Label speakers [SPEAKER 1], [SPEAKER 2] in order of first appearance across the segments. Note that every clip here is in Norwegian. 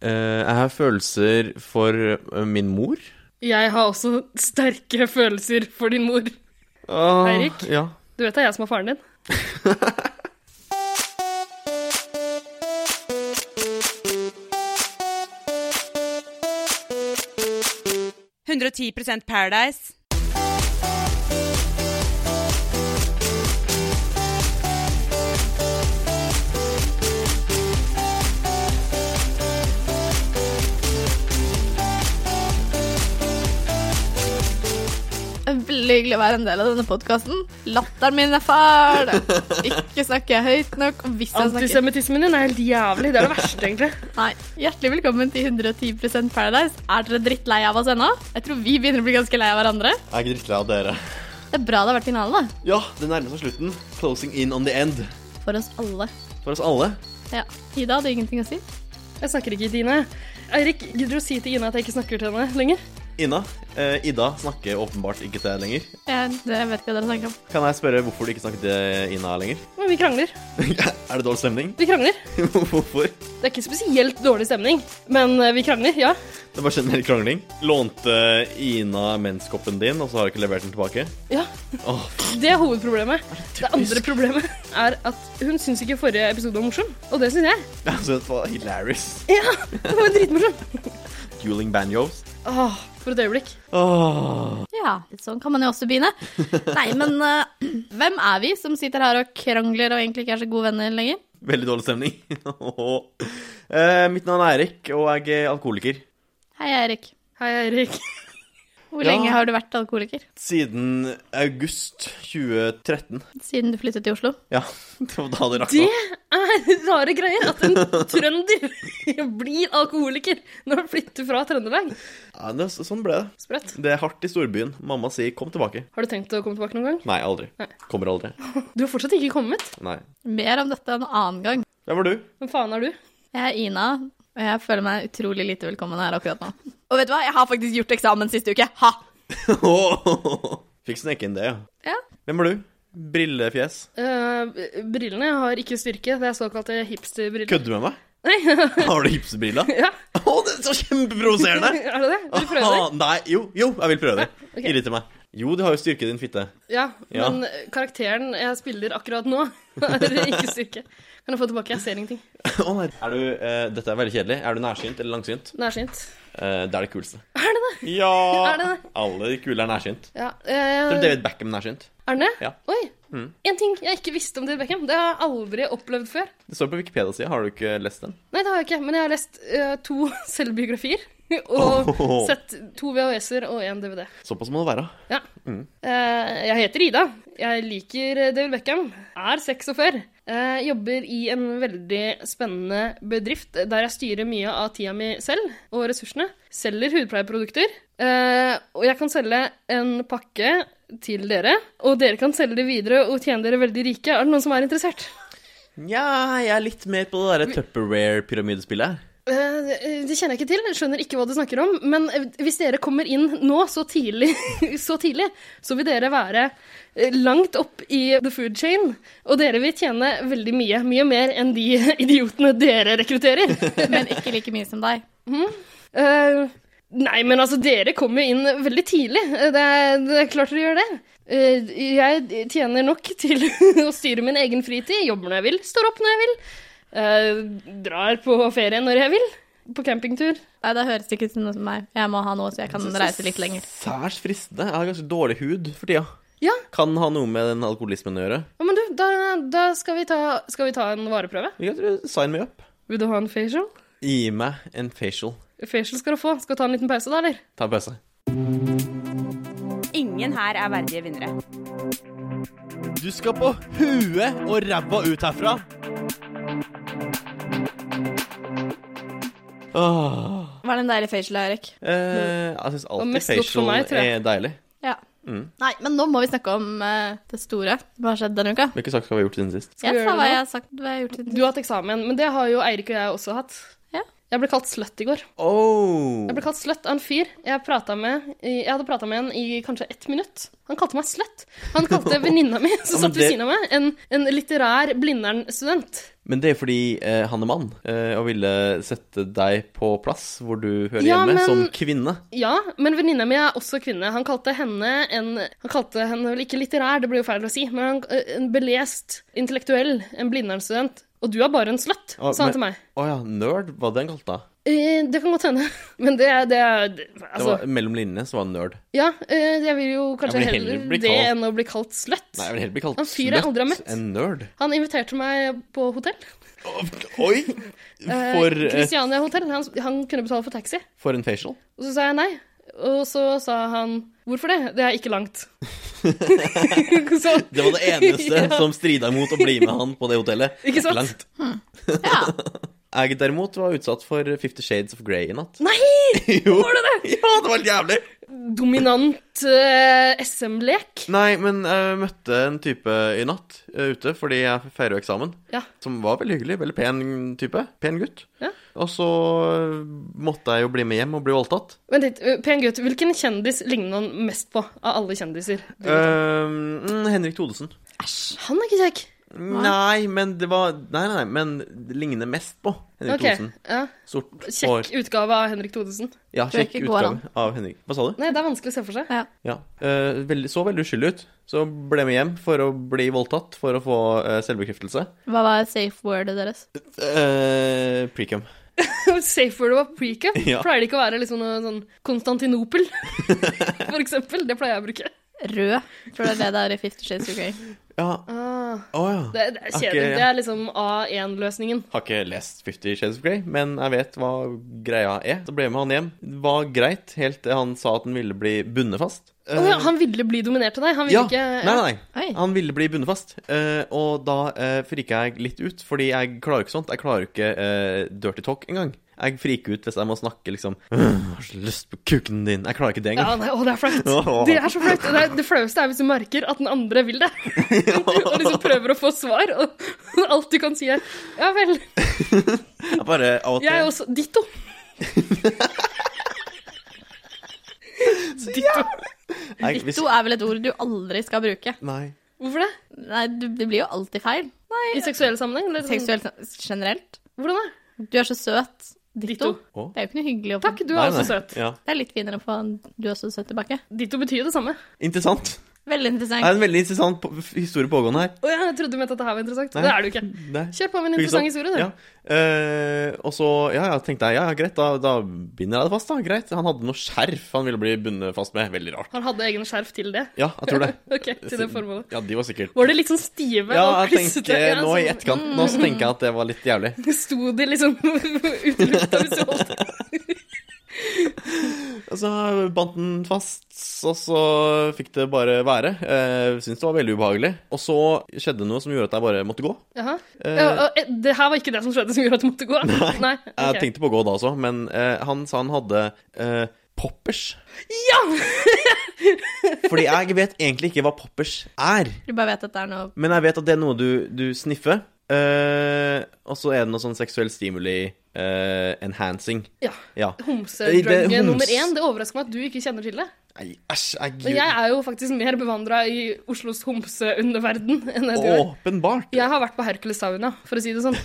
[SPEAKER 1] Eh, jeg har følelser for eh, min mor.
[SPEAKER 2] Jeg har også sterke følelser for din mor.
[SPEAKER 1] Ah,
[SPEAKER 2] Eirik?
[SPEAKER 1] Ja.
[SPEAKER 2] Du vet det er jeg som er faren din?
[SPEAKER 3] det. 110 Paradise.
[SPEAKER 4] Det er Veldig hyggelig å være en del av denne podkasten. Latteren min er fæl. Ikke snakker jeg høyt nok. og Hvis jeg snakker
[SPEAKER 2] Antisemittismen din er helt jævlig. Det er det verste, egentlig.
[SPEAKER 4] Nei. Hjertelig velkommen til 110 Paradise. Er dere drittlei av oss ennå? Jeg tror vi begynner å bli ganske lei av hverandre.
[SPEAKER 5] Jeg er drittlei av dere.
[SPEAKER 4] Det er bra det har vært finale, da.
[SPEAKER 5] Ja, det nærmer seg slutten. Closing in on the end.
[SPEAKER 4] For oss alle.
[SPEAKER 5] For oss alle.
[SPEAKER 4] Ja. Ida hadde ingenting å si.
[SPEAKER 2] Jeg snakker ikke til Ine. Eirik, gidder du å si til Ine at jeg ikke snakker til henne lenger?
[SPEAKER 5] Ina, eh, Ida snakker åpenbart ikke til deg lenger.
[SPEAKER 4] Jeg, det vet ikke hva dere snakker om.
[SPEAKER 5] Kan jeg spørre hvorfor du ikke snakker til Ina lenger?
[SPEAKER 2] Men vi krangler.
[SPEAKER 5] er det dårlig stemning?
[SPEAKER 2] Vi krangler.
[SPEAKER 5] hvorfor?
[SPEAKER 2] Det er ikke spesielt dårlig stemning, men eh, vi krangler, ja.
[SPEAKER 5] Det er bare generell krangling. Lånte Ina menskoppen din, og så har hun ikke levert den tilbake?
[SPEAKER 2] Ja,
[SPEAKER 5] Åh,
[SPEAKER 2] Det er hovedproblemet. Det andre problemet er at hun syns ikke forrige episode var morsom, og det syns jeg.
[SPEAKER 5] jeg synes Altså, det var hilarious.
[SPEAKER 2] Ja, Det var jo dritmorsom.
[SPEAKER 5] Dueling banjos. Ah,
[SPEAKER 2] Åh, for et øyeblikk.
[SPEAKER 5] Åh.
[SPEAKER 4] Ja, sånn kan man jo også begynne. Nei, men eh, hvem er vi som sitter her og krangler og egentlig ikke er så gode venner lenger?
[SPEAKER 5] Veldig dårlig stemning. eh, mitt navn er Erik, og jeg er alkoholiker.
[SPEAKER 4] Hei, Eirik.
[SPEAKER 2] Hei, Eirik.
[SPEAKER 4] Hvor
[SPEAKER 5] Ja.
[SPEAKER 4] lenge har du vært alkoholiker?
[SPEAKER 5] Siden august 2013.
[SPEAKER 4] Siden du flyttet til Oslo?
[SPEAKER 5] Ja, det var da det rakna.
[SPEAKER 2] Det er rare greier at en trønder blir alkoholiker når han flytter fra Trøndelag.
[SPEAKER 5] Ja, det, sånn ble det.
[SPEAKER 2] Sprøtt.
[SPEAKER 5] Det er hardt i storbyen. Mamma sier 'kom tilbake'.
[SPEAKER 2] Har du tenkt å komme tilbake noen gang?
[SPEAKER 5] Nei, aldri.
[SPEAKER 2] Nei.
[SPEAKER 5] Kommer aldri.
[SPEAKER 2] Du har fortsatt ikke kommet.
[SPEAKER 5] Nei.
[SPEAKER 4] Mer om dette en annen gang.
[SPEAKER 5] Der var du.
[SPEAKER 2] Hvem faen er du?
[SPEAKER 4] Jeg er Ina, og jeg føler meg utrolig lite velkommen her akkurat nå. Og vet du hva? Jeg har faktisk gjort eksamen siste uke. Ha!
[SPEAKER 5] Fikk sneke inn det, ja.
[SPEAKER 4] Ja.
[SPEAKER 5] Hvem er du? Brillefjes.
[SPEAKER 2] Eh, brillene har ikke styrke. Det er såkalte hipsterbriller.
[SPEAKER 5] Kødder du med meg? Har du hipsebriller?
[SPEAKER 2] Ja,
[SPEAKER 5] Å, det er så kjempeprovoserende!
[SPEAKER 2] er det det? Vil du prøve det?
[SPEAKER 5] Ah, Nei, jo, jo, jeg vil prøve det.
[SPEAKER 2] ok.
[SPEAKER 5] Irriter meg. Jo, du har jo styrke, din fitte.
[SPEAKER 2] Ja,
[SPEAKER 5] Ja.
[SPEAKER 2] men karakteren jeg spiller akkurat nå, er ikke styrke. Kan jeg få tilbake? Jeg ser ingenting.
[SPEAKER 5] Å nei. Er du, eh, dette er veldig kjedelig. Er du nærsynt eller langsynt?
[SPEAKER 2] Nærsynt.
[SPEAKER 5] Eh, det er det kuleste. Er det det? Ja!
[SPEAKER 2] Er det det?
[SPEAKER 5] Alle de kule er nærsynt.
[SPEAKER 2] Ja.
[SPEAKER 5] Tror du
[SPEAKER 2] Eh,
[SPEAKER 5] David Beckham er nærsynt?
[SPEAKER 2] Erne?
[SPEAKER 5] Ja. Mm.
[SPEAKER 2] Oi! En ting jeg ikke visste om David Beckham. Det har jeg aldri opplevd før.
[SPEAKER 5] Det står på Wikipedia-sida. Har du ikke lest den?
[SPEAKER 2] Nei, det har jeg ikke, men jeg har lest eh, to selvbiografier. Og
[SPEAKER 5] Åh.
[SPEAKER 2] sett to VHS-er og én DVD.
[SPEAKER 5] Såpass må det være.
[SPEAKER 2] Ja. Eh, jeg heter Ida. Jeg liker eh, David Beckham. Er 46. Eh, jobber i en veldig spennende bedrift eh, der jeg styrer mye av tida mi selv og ressursene. Selger hudpleieprodukter. Eh, og jeg kan selge en pakke til dere, og dere kan selge det videre og tjene dere veldig rike. Er det noen som er interessert?
[SPEAKER 5] Nja, jeg er litt mer på det derre Tupperware-pyramidespillet.
[SPEAKER 2] Eh, Det kjenner jeg ikke til, skjønner ikke hva du snakker om. Men eh, hvis dere kommer inn nå, så tidlig, så, tidlig så vil dere være eh, langt opp i the food chain. Og dere vil tjene veldig mye. Mye mer enn de idiotene dere rekrutterer.
[SPEAKER 4] Men ikke like mye som deg.
[SPEAKER 2] Eh, nei, men altså, dere kom jo inn veldig tidlig. Eh, Det er, det er klart dere gjør det. Eh, jeg tjener nok til å styre min egen fritid. Jobber når jeg vil, står opp når jeg vil. eh, drar på ferie når jeg vil. På campingtur.
[SPEAKER 4] Nei, det høres ikke ut som noe som meg. Jeg må ha noe så jeg kan reise litt lenger.
[SPEAKER 5] Særs fristende. Jeg har ganske dårlig hud for tida.
[SPEAKER 2] Ja.
[SPEAKER 5] Kan ha noe med den alkoholismen å gjøre.
[SPEAKER 2] Ja, men du, da, da skal, vi ta, skal vi ta en vareprøve.
[SPEAKER 5] Jeg tror Sign me up.
[SPEAKER 2] Vil du ha en facial?
[SPEAKER 5] Gi meg en facial.
[SPEAKER 2] Facial skal du få. Skal vi ta en liten pause da, eller?
[SPEAKER 5] Ta en pause.
[SPEAKER 3] Ingen her er verdige vinnere.
[SPEAKER 5] Du skal på huet og ræva ut herfra. Åh.
[SPEAKER 4] Var det en deilig facial, Eirik?
[SPEAKER 5] Eh, jeg syns
[SPEAKER 2] Og
[SPEAKER 5] alltid
[SPEAKER 2] mest godt for
[SPEAKER 5] facial
[SPEAKER 2] meg, tror jeg.
[SPEAKER 5] er deilig. Mm.
[SPEAKER 4] Ja. Nei, men nå må vi snakke om eh, det store som har skjedd denne uka.
[SPEAKER 5] Hvilke saker har vi gjort siden sist?
[SPEAKER 2] vi
[SPEAKER 4] Jeg
[SPEAKER 2] gjøre det
[SPEAKER 4] sa hva
[SPEAKER 2] nå?
[SPEAKER 4] jeg har sagt hva jeg har gjort siden
[SPEAKER 2] Du har hatt eksamen, men det har jo Eirik og jeg også hatt.
[SPEAKER 4] Ja.
[SPEAKER 2] Jeg ble kalt slutt i går.
[SPEAKER 5] Oh.
[SPEAKER 2] Jeg ble kalt slutt av en fyr jeg, pratet med, i- jeg hadde prata med en i kanskje ett minutt. Han kalte meg slutt. Han kalte venninna mi, som
[SPEAKER 5] men
[SPEAKER 2] satt ved
[SPEAKER 5] det-
[SPEAKER 2] siden av meg, en, en litterær Blindern-student.
[SPEAKER 5] Men det er fordi eh, han er mann, eh, og ville sette deg på plass hvor du hører
[SPEAKER 2] Ja,
[SPEAKER 5] hjemme,
[SPEAKER 2] men-
[SPEAKER 5] som kvinne.
[SPEAKER 2] Ja, men venninna mi er også kvinne. Han kalte henne en Han kalte henne vel ikke litterær, det blir jo feil å si, men han, eh, en belest, intellektuell, en Blindern-student. Og du er bare en slutt,
[SPEAKER 5] Å,
[SPEAKER 2] sa
[SPEAKER 5] men-
[SPEAKER 2] han til meg.
[SPEAKER 5] Å ja, nerd var det han kalte deg.
[SPEAKER 2] Eh, det kan godt hende, men det er det, er- det
[SPEAKER 5] Det
[SPEAKER 2] Altså,
[SPEAKER 5] var, mellom linjene så var han nerd.
[SPEAKER 2] ja, eh, jeg vil jo kanskje
[SPEAKER 5] Jeg vil heller
[SPEAKER 2] heller,
[SPEAKER 5] bli
[SPEAKER 2] det
[SPEAKER 5] kalt-
[SPEAKER 2] enn å bli kalt slutt.
[SPEAKER 5] Nei, jeg vil heller bli kalt
[SPEAKER 2] Han fyren jeg aldri har møtt.
[SPEAKER 5] en nerd.
[SPEAKER 2] Han inviterte meg på hotell.
[SPEAKER 5] Oi!
[SPEAKER 2] Eh,
[SPEAKER 5] For, eh,
[SPEAKER 2] Christiania hotell. Han, han kunne betale for taxi.
[SPEAKER 5] for en facial.
[SPEAKER 2] Og så sa jeg nei. Og så sa han hvorfor det? Det er ikke langt. så,
[SPEAKER 5] Det var det eneste
[SPEAKER 2] Ja.
[SPEAKER 5] som strida imot å bli med han på det hotellet.
[SPEAKER 2] Ikke sant?
[SPEAKER 5] Langt.
[SPEAKER 4] Ja.
[SPEAKER 5] Jeg derimot var utsatt for Fifty Shades of Grey i natt.
[SPEAKER 2] Nei!
[SPEAKER 5] Jo. Var det det? Ja, det var helt jævlig!
[SPEAKER 2] Dominant eh, SM-lek.
[SPEAKER 5] Nei, men jeg møtte en type i natt eh, ute, fordi jeg feirer jo eksamen.
[SPEAKER 2] Ja.
[SPEAKER 5] Som var veldig hyggelig. Veldig pen type. Pen gutt.
[SPEAKER 2] Ja.
[SPEAKER 5] Og så eh, måtte jeg jo bli med hjem og bli voldtatt.
[SPEAKER 2] Vent litt. eh, Pen gutt, hvilken kjendis ligner han mest på av alle kjendiser?
[SPEAKER 5] Eh, mm, Henrik Thodesen.
[SPEAKER 2] Han er ikke kjekk.
[SPEAKER 5] Nei, men det var Nei, nei, nei, men det ligner mest på Henrik
[SPEAKER 2] Ok,
[SPEAKER 5] Thodesen.
[SPEAKER 2] ja.
[SPEAKER 5] Sort hår.
[SPEAKER 2] Kjekk utgave av Henrik Thodesen.
[SPEAKER 5] Ja,
[SPEAKER 4] Tror jeg
[SPEAKER 5] kjekk
[SPEAKER 4] ikke går
[SPEAKER 5] utgave av Henrik. Hva sa du?
[SPEAKER 2] Nei, det er vanskelig å se for seg.
[SPEAKER 4] ja.
[SPEAKER 5] Ja. eh, veldig, så veldig uskyldig ut. Så ble med hjem for å bli voldtatt, for å få eh, selvbekreftelse.
[SPEAKER 4] Hva var safe wordet deres?
[SPEAKER 5] Uh, Precum.
[SPEAKER 2] Safe word var precup.
[SPEAKER 5] Ja.
[SPEAKER 2] Pleier det ikke å være liksom noe sånn Konstantinopel, for eksempel? Det pleier jeg å bruke.
[SPEAKER 4] Rød. Tror det er det det er i Fifty Shades of Grey.
[SPEAKER 5] Ja.
[SPEAKER 2] Ah,
[SPEAKER 5] Å ja.
[SPEAKER 2] det, det er
[SPEAKER 5] Ok,
[SPEAKER 2] kjedelig.
[SPEAKER 5] ja.
[SPEAKER 2] Det er liksom A1-løsningen.
[SPEAKER 5] Har ikke lest Fifty Shades of Grey, men jeg vet hva greia er. Så ble jeg med han hjem. Det var greit, helt til han sa at han ville bli bundet fast. Eh,
[SPEAKER 2] Å ja, han ville bli dominert av deg? Han ville
[SPEAKER 5] ja.
[SPEAKER 2] ikke
[SPEAKER 5] Nei, nei, nei.
[SPEAKER 4] Oi.
[SPEAKER 5] Han ville bli bundet fast. Eh, og da uh, frika jeg litt ut, fordi jeg klarer ikke sånt. Jeg klarer ikke eh, dirty talk engang. Jeg friker ut hvis jeg må snakke liksom «Åh, Har så lyst på kuken din. Jeg klarer ikke det
[SPEAKER 2] Ja,
[SPEAKER 5] engang.
[SPEAKER 2] nei, å, det er flaut.
[SPEAKER 5] Åh.
[SPEAKER 2] Det er så flaut. Det, er- det flaueste er hvis du merker at den andre vil det, og liksom prøver å få svar, og alt du kan si er ja vel,
[SPEAKER 5] Jeg bare av og til
[SPEAKER 2] jeg er også ditto. ditto.
[SPEAKER 5] jeg, hvis,
[SPEAKER 4] Ditto er vel et ord du aldri skal bruke.
[SPEAKER 5] Nei.
[SPEAKER 2] Hvorfor det?
[SPEAKER 4] Nei, du- det blir jo alltid feil.
[SPEAKER 2] I seksuell sammenheng? Eller sånn-
[SPEAKER 4] Seksuelt generelt.
[SPEAKER 2] Hvordan da?
[SPEAKER 4] Du er så søt. Ditto.
[SPEAKER 2] Ditto.
[SPEAKER 5] Å.
[SPEAKER 4] Det er jo ikke noe hyggelig å få.
[SPEAKER 2] Takk, du er
[SPEAKER 5] Nei,
[SPEAKER 2] også
[SPEAKER 5] nei.
[SPEAKER 2] søt.
[SPEAKER 5] Ja.
[SPEAKER 4] Det er litt finere å få en du er så søt tilbake.
[SPEAKER 2] Ditto betyr det samme.
[SPEAKER 5] Interessant.
[SPEAKER 4] Veldig
[SPEAKER 5] Det er
[SPEAKER 4] interessant.
[SPEAKER 5] en veldig interessant på- historie pågående her.
[SPEAKER 2] Å ja, jeg trodde du mente at det her var interessant.
[SPEAKER 5] Nei.
[SPEAKER 2] Det er det jo ikke.
[SPEAKER 5] Nei.
[SPEAKER 2] Kjør på med en interessant historie, du.
[SPEAKER 5] Ja. Eh, og så ja, ja, tenkte jeg ja, ja, greit, da, da binder jeg det fast. da, greit Han hadde noe skjerf han ville bli bundet fast med. Veldig rart.
[SPEAKER 2] Han hadde egen skjerf til det.
[SPEAKER 5] Ja, jeg tror det.
[SPEAKER 2] Ok, til det formålet.
[SPEAKER 5] Ja, de var sikkert
[SPEAKER 2] Var det litt sånn stive
[SPEAKER 5] Ja,
[SPEAKER 2] og
[SPEAKER 5] jeg tenker
[SPEAKER 2] Ja,
[SPEAKER 5] nå i
[SPEAKER 2] sånn-
[SPEAKER 5] etterkant Nå så tenker jeg at det var litt jævlig.
[SPEAKER 2] Sto de liksom ute i lufta hvis du holdt
[SPEAKER 5] Og så bandt den fast, og så fikk det bare være. Eh, Syntes det var veldig ubehagelig. Og så skjedde noe som gjorde at jeg bare måtte gå.
[SPEAKER 2] Jaha.
[SPEAKER 5] Eh,
[SPEAKER 2] Ja, og, eh, det her var ikke det som skjedde som gjorde at du måtte gå? Nei. ok.
[SPEAKER 5] Jeg tenkte på å gå da også, men eh, han sa han hadde eh, poppers.
[SPEAKER 2] Ja!
[SPEAKER 5] Fordi jeg vet egentlig ikke hva poppers er,
[SPEAKER 4] Du bare vet at det er noe
[SPEAKER 5] men jeg vet at det er noe du, du sniffer. eh, og så er det noe sånn seksuell stimuli eh, enhancing.
[SPEAKER 2] ja.
[SPEAKER 5] Ja. Nei, det er
[SPEAKER 2] Homsedrug
[SPEAKER 5] homs.
[SPEAKER 2] nummer én. Det overrasker meg at du ikke kjenner til det.
[SPEAKER 5] Nei, æsj,
[SPEAKER 2] Og
[SPEAKER 5] jeg
[SPEAKER 2] jeg er jo faktisk mer bevandra i Oslos homseunderverden enn det du er.
[SPEAKER 5] Åpenbart!
[SPEAKER 2] Jeg har vært på Hercules Sauna, for å si det sånn.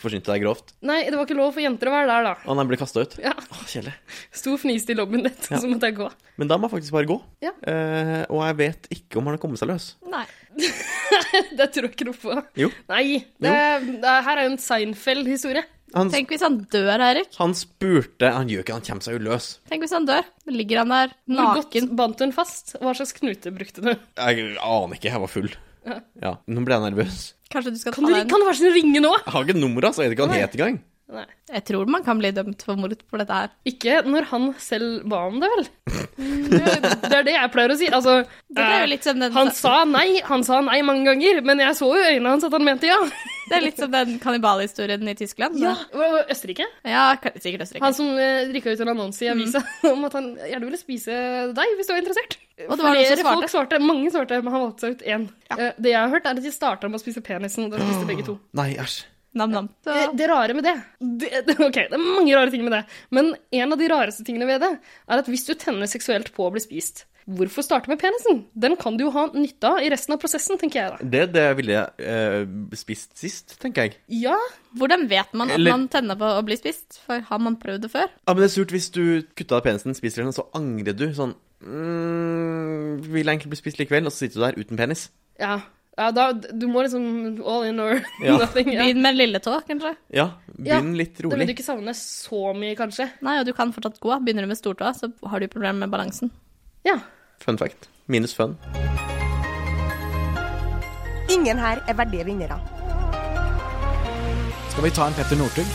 [SPEAKER 5] Forsynte deg grovt.
[SPEAKER 2] Nei, det var ikke lov for jenter å være der, da.
[SPEAKER 5] Å nei, ble kasta ut.
[SPEAKER 2] Ja,
[SPEAKER 5] Å, Kjedelig.
[SPEAKER 2] Sto og fniste i lobbyen ditt, og så måtte jeg gå.
[SPEAKER 5] Men da må jeg faktisk bare gå.
[SPEAKER 2] Ja.
[SPEAKER 5] Eh, og jeg vet ikke om han har kommet seg løs.
[SPEAKER 4] Nei.
[SPEAKER 2] Det tror jeg ikke noe på.
[SPEAKER 5] Jo.
[SPEAKER 2] Nei. Det, det, her er jo en Seinfeld-historie.
[SPEAKER 5] Han,
[SPEAKER 4] Tenk hvis han dør, Eirik.
[SPEAKER 5] han spurte Han gjør ikke det, han kommer seg jo løs.
[SPEAKER 4] Tenk hvis han dør. Da ligger han der
[SPEAKER 2] Hvor godt
[SPEAKER 4] naken.
[SPEAKER 2] bandt hun fast? Hva slags knute brukte du?
[SPEAKER 5] Jeg aner ikke, jeg var full. Ja, Nå ble jeg nervøs.
[SPEAKER 4] Kanskje du skal
[SPEAKER 2] Kan
[SPEAKER 4] ta
[SPEAKER 2] du,
[SPEAKER 4] deg
[SPEAKER 2] kan du
[SPEAKER 4] en
[SPEAKER 2] være så snill å ringe nå?
[SPEAKER 5] Jeg har ikke nummeret, så jeg vet ikke hva han het engang.
[SPEAKER 2] Nei.
[SPEAKER 4] Jeg tror man kan bli dømt for mord for dette her.
[SPEAKER 2] Ikke når han selv ba om det, vel? Det det er det jeg pleier å si. Altså,
[SPEAKER 4] Det er
[SPEAKER 2] eh,
[SPEAKER 4] jo litt som den,
[SPEAKER 2] han sa nei, han sa nei mange ganger, men jeg så jo i øynene hans at han mente ja.
[SPEAKER 4] det er litt som den kannibalhistorien i Tyskland.
[SPEAKER 2] Var det Østerrike?
[SPEAKER 4] ja kan- sikkert Østerrike.
[SPEAKER 2] Han som eh, rykka ut en annonse
[SPEAKER 4] Mm.
[SPEAKER 2] i avisa om at han gjerne ville spise deg hvis du var interessert.
[SPEAKER 4] Og det var noen som
[SPEAKER 2] Flere folk svarte. Mange svarte, men han valgte seg ut én. Eh, Det jeg har hørt, er at de starta med å spise penisen, og da spiste begge to.
[SPEAKER 5] Nei, æsj.
[SPEAKER 4] Nam-nam.
[SPEAKER 2] Det, det rare med det, det det- Ok, det er mange rare ting med det, men en av de rareste tingene ved det er at hvis du tenner seksuelt på å bli spist, Hvorfor starte med penisen? Den kan du jo ha nytte av i resten av prosessen, tenker jeg da.
[SPEAKER 5] Det er det jeg ville eh, spist sist, tenker jeg.
[SPEAKER 2] Ja,
[SPEAKER 4] Hvordan vet man at
[SPEAKER 5] Eller-
[SPEAKER 4] man tenner på å bli spist? For har man prøvd det før?
[SPEAKER 5] Ja, men det er surt hvis du kutta av penisen, spiser den, og så angrer du sånn mm, Vil jeg egentlig bli spist likevel? Og så sitter du der uten penis.
[SPEAKER 2] ja. ja da, du må liksom all in or
[SPEAKER 5] Ja.
[SPEAKER 2] nothing. Ja.
[SPEAKER 4] Begynn med en lille tå, kanskje?
[SPEAKER 5] Ja, begynn
[SPEAKER 2] Ja,
[SPEAKER 5] litt
[SPEAKER 2] Da
[SPEAKER 5] rolig.
[SPEAKER 2] vil du ikke savne så mye, kanskje.
[SPEAKER 4] Nei, og du kan fortsatt gå. Begynner du med stortåa, så har du problemer med balansen.
[SPEAKER 2] Ja.
[SPEAKER 5] Fun fact. Minus fun.
[SPEAKER 6] Ingen her er verdige vinnere.
[SPEAKER 7] Skal vi ta en Petter Northug?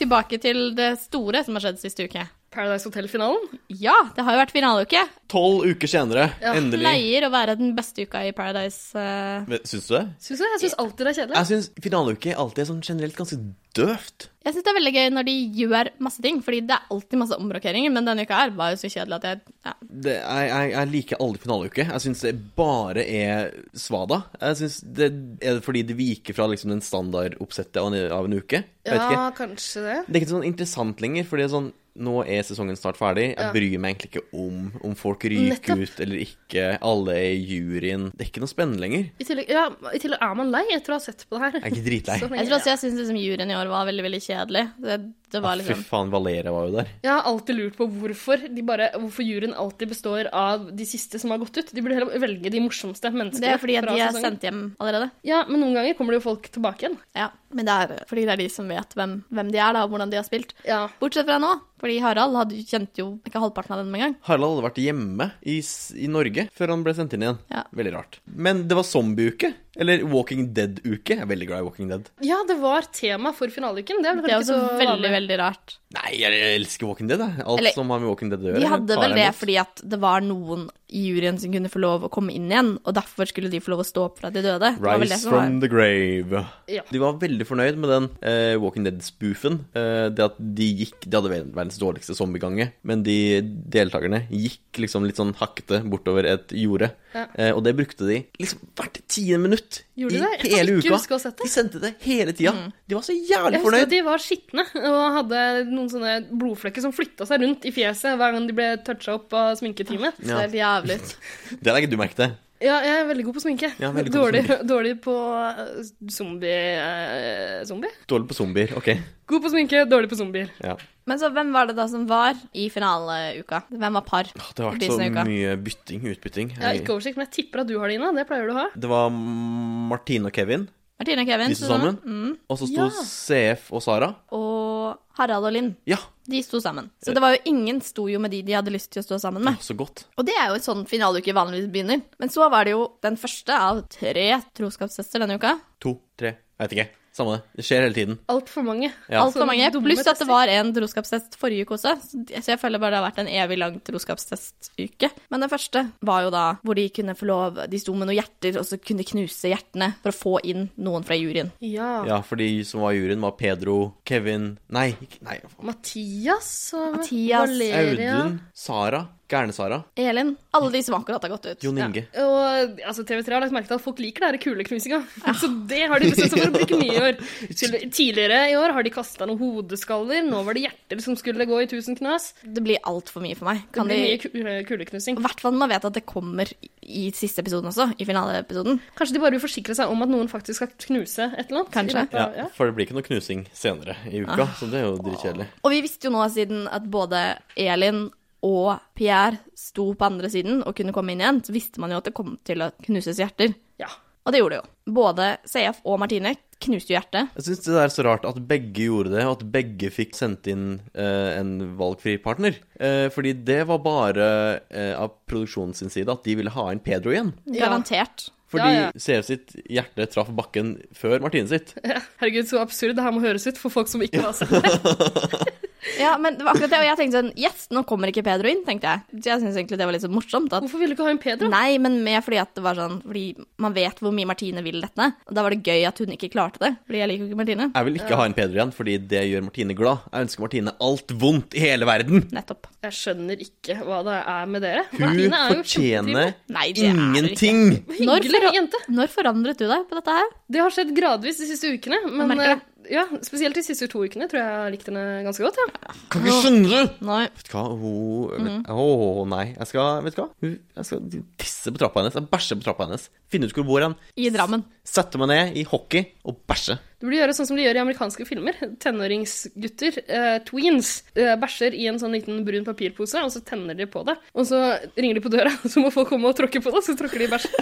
[SPEAKER 4] Tilbake til det store som har skjedd siste uke.
[SPEAKER 2] Paradise Hotel-finalen.
[SPEAKER 4] Ja, det har jo vært finaleuke.
[SPEAKER 5] Tolv uker senere,
[SPEAKER 2] Ja,
[SPEAKER 5] endelig.
[SPEAKER 4] Pleier å være den beste uka i Paradise. eh.
[SPEAKER 5] Syns du det?
[SPEAKER 2] Syns du? Jeg syns alltid det er kjedelig.
[SPEAKER 5] Jeg syns finaleuke alltid er sånn generelt ganske døvt.
[SPEAKER 4] Jeg syns det er veldig gøy når de gjør masse ting, fordi det er alltid masse omrokeringer, men denne uka her var jo så kjedelig at jeg ja.
[SPEAKER 5] Det, jeg, jeg, jeg liker aldri finaleuke. Jeg syns det bare er svada. Jeg synes det Er det fordi det viker fra liksom den standardoppsettet av, en- av en uke? Jeg vet ikke.
[SPEAKER 2] Ja, kanskje det.
[SPEAKER 5] Det er ikke sånn interessant lenger, for det er sånn nå er sesongen snart ferdig. Jeg
[SPEAKER 2] Ja.
[SPEAKER 5] bryr meg egentlig ikke om om folk ryker
[SPEAKER 2] Nettopp.
[SPEAKER 5] ut eller ikke. Alle er i juryen. Det er ikke noe spennende lenger.
[SPEAKER 2] I tillegg, ja, I tillegg er man lei etter å ha sett på det her.
[SPEAKER 5] Jeg er ikke dritlei.
[SPEAKER 2] Så lenge-
[SPEAKER 4] Jeg tror også jeg syns liksom, juryen i år var veldig, veldig kjedelig. Det, det var
[SPEAKER 5] Fy
[SPEAKER 4] liksom
[SPEAKER 5] faen, Valeria var jo der.
[SPEAKER 2] Jeg har alltid lurt på hvorfor de bare, hvorfor juryen alltid består av de siste som har gått ut. De burde heller velge de morsomste menneskene.
[SPEAKER 4] Det er fordi at
[SPEAKER 2] fra
[SPEAKER 4] de er
[SPEAKER 2] sesongen.
[SPEAKER 4] sendt hjem allerede.
[SPEAKER 2] Ja, men noen ganger kommer det jo folk tilbake igjen.
[SPEAKER 4] Ja, men det er fordi det er de som vet hvem, hvem de er, da, og hvordan de har spilt.
[SPEAKER 2] Ja.
[SPEAKER 4] Bortsett fra nå, fordi Harald hadde, kjente jo ikke halvparten av dem engang.
[SPEAKER 5] Harald hadde vært hjemme i, s- i Norge før han ble sendt inn igjen.
[SPEAKER 4] Ja.
[SPEAKER 5] Veldig rart. Men det var zombieuke. Eller Walking Dead-uke. Jeg er veldig glad i Walking Dead.
[SPEAKER 2] ja, det var tema for finaleuken. Det er vel
[SPEAKER 4] Det er
[SPEAKER 2] kanskje
[SPEAKER 4] også
[SPEAKER 2] ikke så
[SPEAKER 4] veldig,
[SPEAKER 2] vanlig.
[SPEAKER 4] veldig rart.
[SPEAKER 5] Nei, jeg elsker Walking Dead. Jeg. Alt
[SPEAKER 4] Eller,
[SPEAKER 5] som har med Walking Dead å gjøre.
[SPEAKER 4] De hadde
[SPEAKER 5] tar
[SPEAKER 4] vel
[SPEAKER 5] jeg
[SPEAKER 4] det
[SPEAKER 5] imot.
[SPEAKER 4] fordi at det var noen i juryen som kunne få lov å komme inn igjen, og derfor skulle de få lov å stå opp fra de døde. Det var vel det
[SPEAKER 5] Rise
[SPEAKER 4] som var.
[SPEAKER 5] from the grave.
[SPEAKER 2] Ja.
[SPEAKER 5] De var veldig fornøyd med den eh, Walking Dead-spoofen. Eh, det at de gikk De hadde ver- verdens dårligste zombiegange, men de deltakerne gikk liksom litt sånn hakkete bortover et jorde.
[SPEAKER 2] Ja.
[SPEAKER 5] Eh, og det brukte de liksom hvert tiende minutt
[SPEAKER 2] Gjorde
[SPEAKER 5] i
[SPEAKER 2] de det? Jeg kan
[SPEAKER 5] hele
[SPEAKER 2] ikke
[SPEAKER 5] uka.
[SPEAKER 2] huske å ha sett det.
[SPEAKER 5] De sendte det hele tida.
[SPEAKER 4] Mm.
[SPEAKER 5] De var så jævlig
[SPEAKER 2] Jeg husker at
[SPEAKER 5] fornøyd.
[SPEAKER 2] de var skitne og hadde noen sånne blodflekker som flytta seg rundt i fjeset hver gang de ble toucha opp av sminketeamet.
[SPEAKER 4] Det
[SPEAKER 5] Ja.
[SPEAKER 4] ser helt jævlig ut.
[SPEAKER 5] Det legger du merke til.
[SPEAKER 2] Ja, jeg er veldig god på sminke.
[SPEAKER 5] Ja, veldig god på
[SPEAKER 2] dårlig, dårlig på eh, zombie eh, Zombie?
[SPEAKER 5] Dårlig på zombier. Ok.
[SPEAKER 2] God på sminke, dårlig på zombier.
[SPEAKER 5] Ja.
[SPEAKER 4] Men så hvem var det da som var i finaleuka? Hvem var par?
[SPEAKER 5] Åh, Det har vært
[SPEAKER 4] Blir
[SPEAKER 5] så
[SPEAKER 4] snøka.
[SPEAKER 5] mye bytting, utbytting.
[SPEAKER 2] Jeg har
[SPEAKER 5] Jeg-
[SPEAKER 2] ikke oversikt, men jeg tipper at du har det, Ina. Det pleier du å ha.
[SPEAKER 5] Det var Martine og Kevin,
[SPEAKER 4] Martine og Kevin.
[SPEAKER 5] de sto
[SPEAKER 4] sto
[SPEAKER 5] sammen.
[SPEAKER 4] Mm,
[SPEAKER 5] Og så sto CF og Sara.
[SPEAKER 4] og Harald og Linn.
[SPEAKER 5] Ja,
[SPEAKER 4] De sto sammen. Så det var jo ingen sto jo med de de hadde lyst til å stå sammen med.
[SPEAKER 5] så godt.
[SPEAKER 4] Og det er jo en sånn finaleuke vanligvis begynner. Men så var det jo den første av tre troskapstester denne uka.
[SPEAKER 5] To, tre, jeg vet ikke. Samme det. Det skjer hele tiden.
[SPEAKER 2] Altfor mange.
[SPEAKER 5] Ja.
[SPEAKER 4] Altfor mange.
[SPEAKER 2] Sånne dumme
[SPEAKER 4] Pluss at
[SPEAKER 2] tester.
[SPEAKER 4] det var en troskapstest forrige uke også. Så de- Så jeg føler bare det har vært en evig lang troskapstestuke. Men den første var jo da hvor de kunne få lov De sto med noen hjerter, og så kunne de knuse hjertene for å få inn noen fra juryen.
[SPEAKER 2] Ja.
[SPEAKER 5] Ja, for de som var i juryen, var Pedro, Kevin Nei, ikke, nei faen.
[SPEAKER 2] Mathias og
[SPEAKER 4] Mathias.
[SPEAKER 2] Valeria.
[SPEAKER 5] Audun, Sara, Gærne-Sara,
[SPEAKER 4] Elin. Alle de som akkurat har gått ut.
[SPEAKER 5] Jon Inge.
[SPEAKER 2] Og altså, TV3 har lagt merke til at folk liker den kuleknusinga. Så det har de bestemt seg for å bruke mye i år. Skulle- Tidligere i år har de kasta noen hodeskaller. Nå var det hjerter som skulle gå i tusen knas.
[SPEAKER 4] Det blir altfor mye for meg.
[SPEAKER 2] Det
[SPEAKER 4] Kan
[SPEAKER 2] blir mye
[SPEAKER 4] de
[SPEAKER 2] ku- eh, kuleknusing.
[SPEAKER 4] I hvert fall når man vet at det kommer i- i siste episoden også. I finaleepisoden.
[SPEAKER 2] Kanskje de bare vil forsikre seg om at noen faktisk skal knuse et eller annet?
[SPEAKER 4] Kanskje.
[SPEAKER 2] I løpet av-
[SPEAKER 5] Ja, Ah. for det blir ikke noe knusing senere i uka, så det er jo dritkjedelig.
[SPEAKER 4] Og vi visste jo nå siden at både Elin og Pierre sto på andre siden og kunne komme inn igjen, så visste man jo at det kom til å knuses hjerter.
[SPEAKER 2] Ja.
[SPEAKER 4] Og det gjorde det jo. Både CF og Martine knuste jo hjertet.
[SPEAKER 5] Jeg syns det er så rart at begge gjorde det, og at begge fikk sendt inn eh, en valgfri partner. Eh, fordi det var bare eh, av produksjonen sin side at de ville ha inn Pedro igjen.
[SPEAKER 2] Ja.
[SPEAKER 4] Garantert.
[SPEAKER 5] Fordi
[SPEAKER 2] Ja, ja.
[SPEAKER 5] CF sitt hjerte traff bakken før Martine sitt.
[SPEAKER 2] Herregud, så absurd det her må høres ut for folk som ikke har sett det.
[SPEAKER 4] Ja, men det var akkurat det, og jeg tenkte sånn Yes, nå kommer ikke Pedro inn, tenkte jeg. Så jeg syns egentlig det var litt så morsomt. At,
[SPEAKER 2] Hvorfor ville du ikke ha en Pedro?
[SPEAKER 4] nei, men mer fordi at det var sånn Fordi man vet hvor mye Martine vil dette. Og da var det gøy at hun ikke klarte det, fordi jeg liker jo ikke Martine.
[SPEAKER 5] Jeg vil ikke ha en Pedro igjen, fordi det gjør Martine glad. Jeg ønsker Martine alt vondt i hele verden.
[SPEAKER 4] Nettopp.
[SPEAKER 2] Jeg skjønner ikke hva det er med dere.
[SPEAKER 5] Hun
[SPEAKER 2] Martine er jo
[SPEAKER 5] fortjener
[SPEAKER 2] kjempetrivelig.
[SPEAKER 4] Nei, det er det
[SPEAKER 5] ingenting.
[SPEAKER 2] Når
[SPEAKER 4] Når, for,
[SPEAKER 2] jente.
[SPEAKER 4] når forandret du deg på dette her?
[SPEAKER 2] Det har skjedd gradvis de siste ukene. Men
[SPEAKER 4] merker det.
[SPEAKER 2] eh, ja, spesielt de siste to ukene tror jeg jeg har likt henne ganske godt. Ja.
[SPEAKER 5] Kan ikke skjønne det!
[SPEAKER 4] Nei.
[SPEAKER 5] Vet du hva, hun
[SPEAKER 2] Mhm.
[SPEAKER 5] vet- Å, nei. Jeg skal Vet du hva? Hun, jeg skal tisse på trappa hennes. Jeg bæsjer på trappa hennes. Finne ut hvor hun bor hen.
[SPEAKER 4] I Drammen.
[SPEAKER 5] Sette meg ned i hockey og bæsje.
[SPEAKER 2] Du burde gjøre sånn som de gjør i amerikanske filmer. Tenåringsgutter, eh, tweens, eh, bæsjer i en sånn liten brun papirpose, og så tenner de på det. Og så ringer de på døra, og så må folk komme og tråkke på det, og så tråkker de i bæsjen.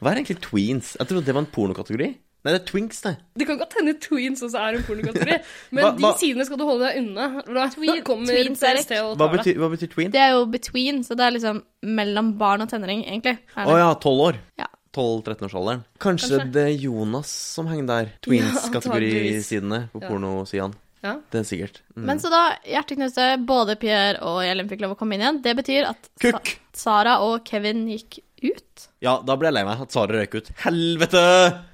[SPEAKER 5] Hva er egentlig tweens? Jeg trodde det var en pornokategori. Nei, det er twinks, det.
[SPEAKER 2] Det kan godt hende tweens også er en pornokategori, men
[SPEAKER 5] Hva-
[SPEAKER 2] de
[SPEAKER 5] hva-
[SPEAKER 2] sidene skal du holde deg unna. for Da kommer
[SPEAKER 4] tweens, Erik.
[SPEAKER 2] PST og
[SPEAKER 5] Hva
[SPEAKER 2] tar
[SPEAKER 5] betyr,
[SPEAKER 2] deg.
[SPEAKER 5] hva betyr tween?
[SPEAKER 4] Det er jo between, så det er liksom mellom barn og tenåring, egentlig. er
[SPEAKER 5] Å
[SPEAKER 4] det.
[SPEAKER 5] ja, tolv år.
[SPEAKER 4] Ja.
[SPEAKER 5] 12-13-årsalderen. Kanskje, det er Jonas som henger der. Twins-kategorisidene på
[SPEAKER 2] Ja.
[SPEAKER 5] pornosidene.
[SPEAKER 2] Ja.
[SPEAKER 5] Det er sikkert. Mm.
[SPEAKER 4] Men så da, hjerteknuste, både Pierre og Ellen fikk lov å komme inn igjen. Det betyr at Sa
[SPEAKER 5] Kukk!
[SPEAKER 4] Sara og Kevin gikk ut.
[SPEAKER 5] Ja, da ble jeg lei meg at Sara røyk ut. Helvete!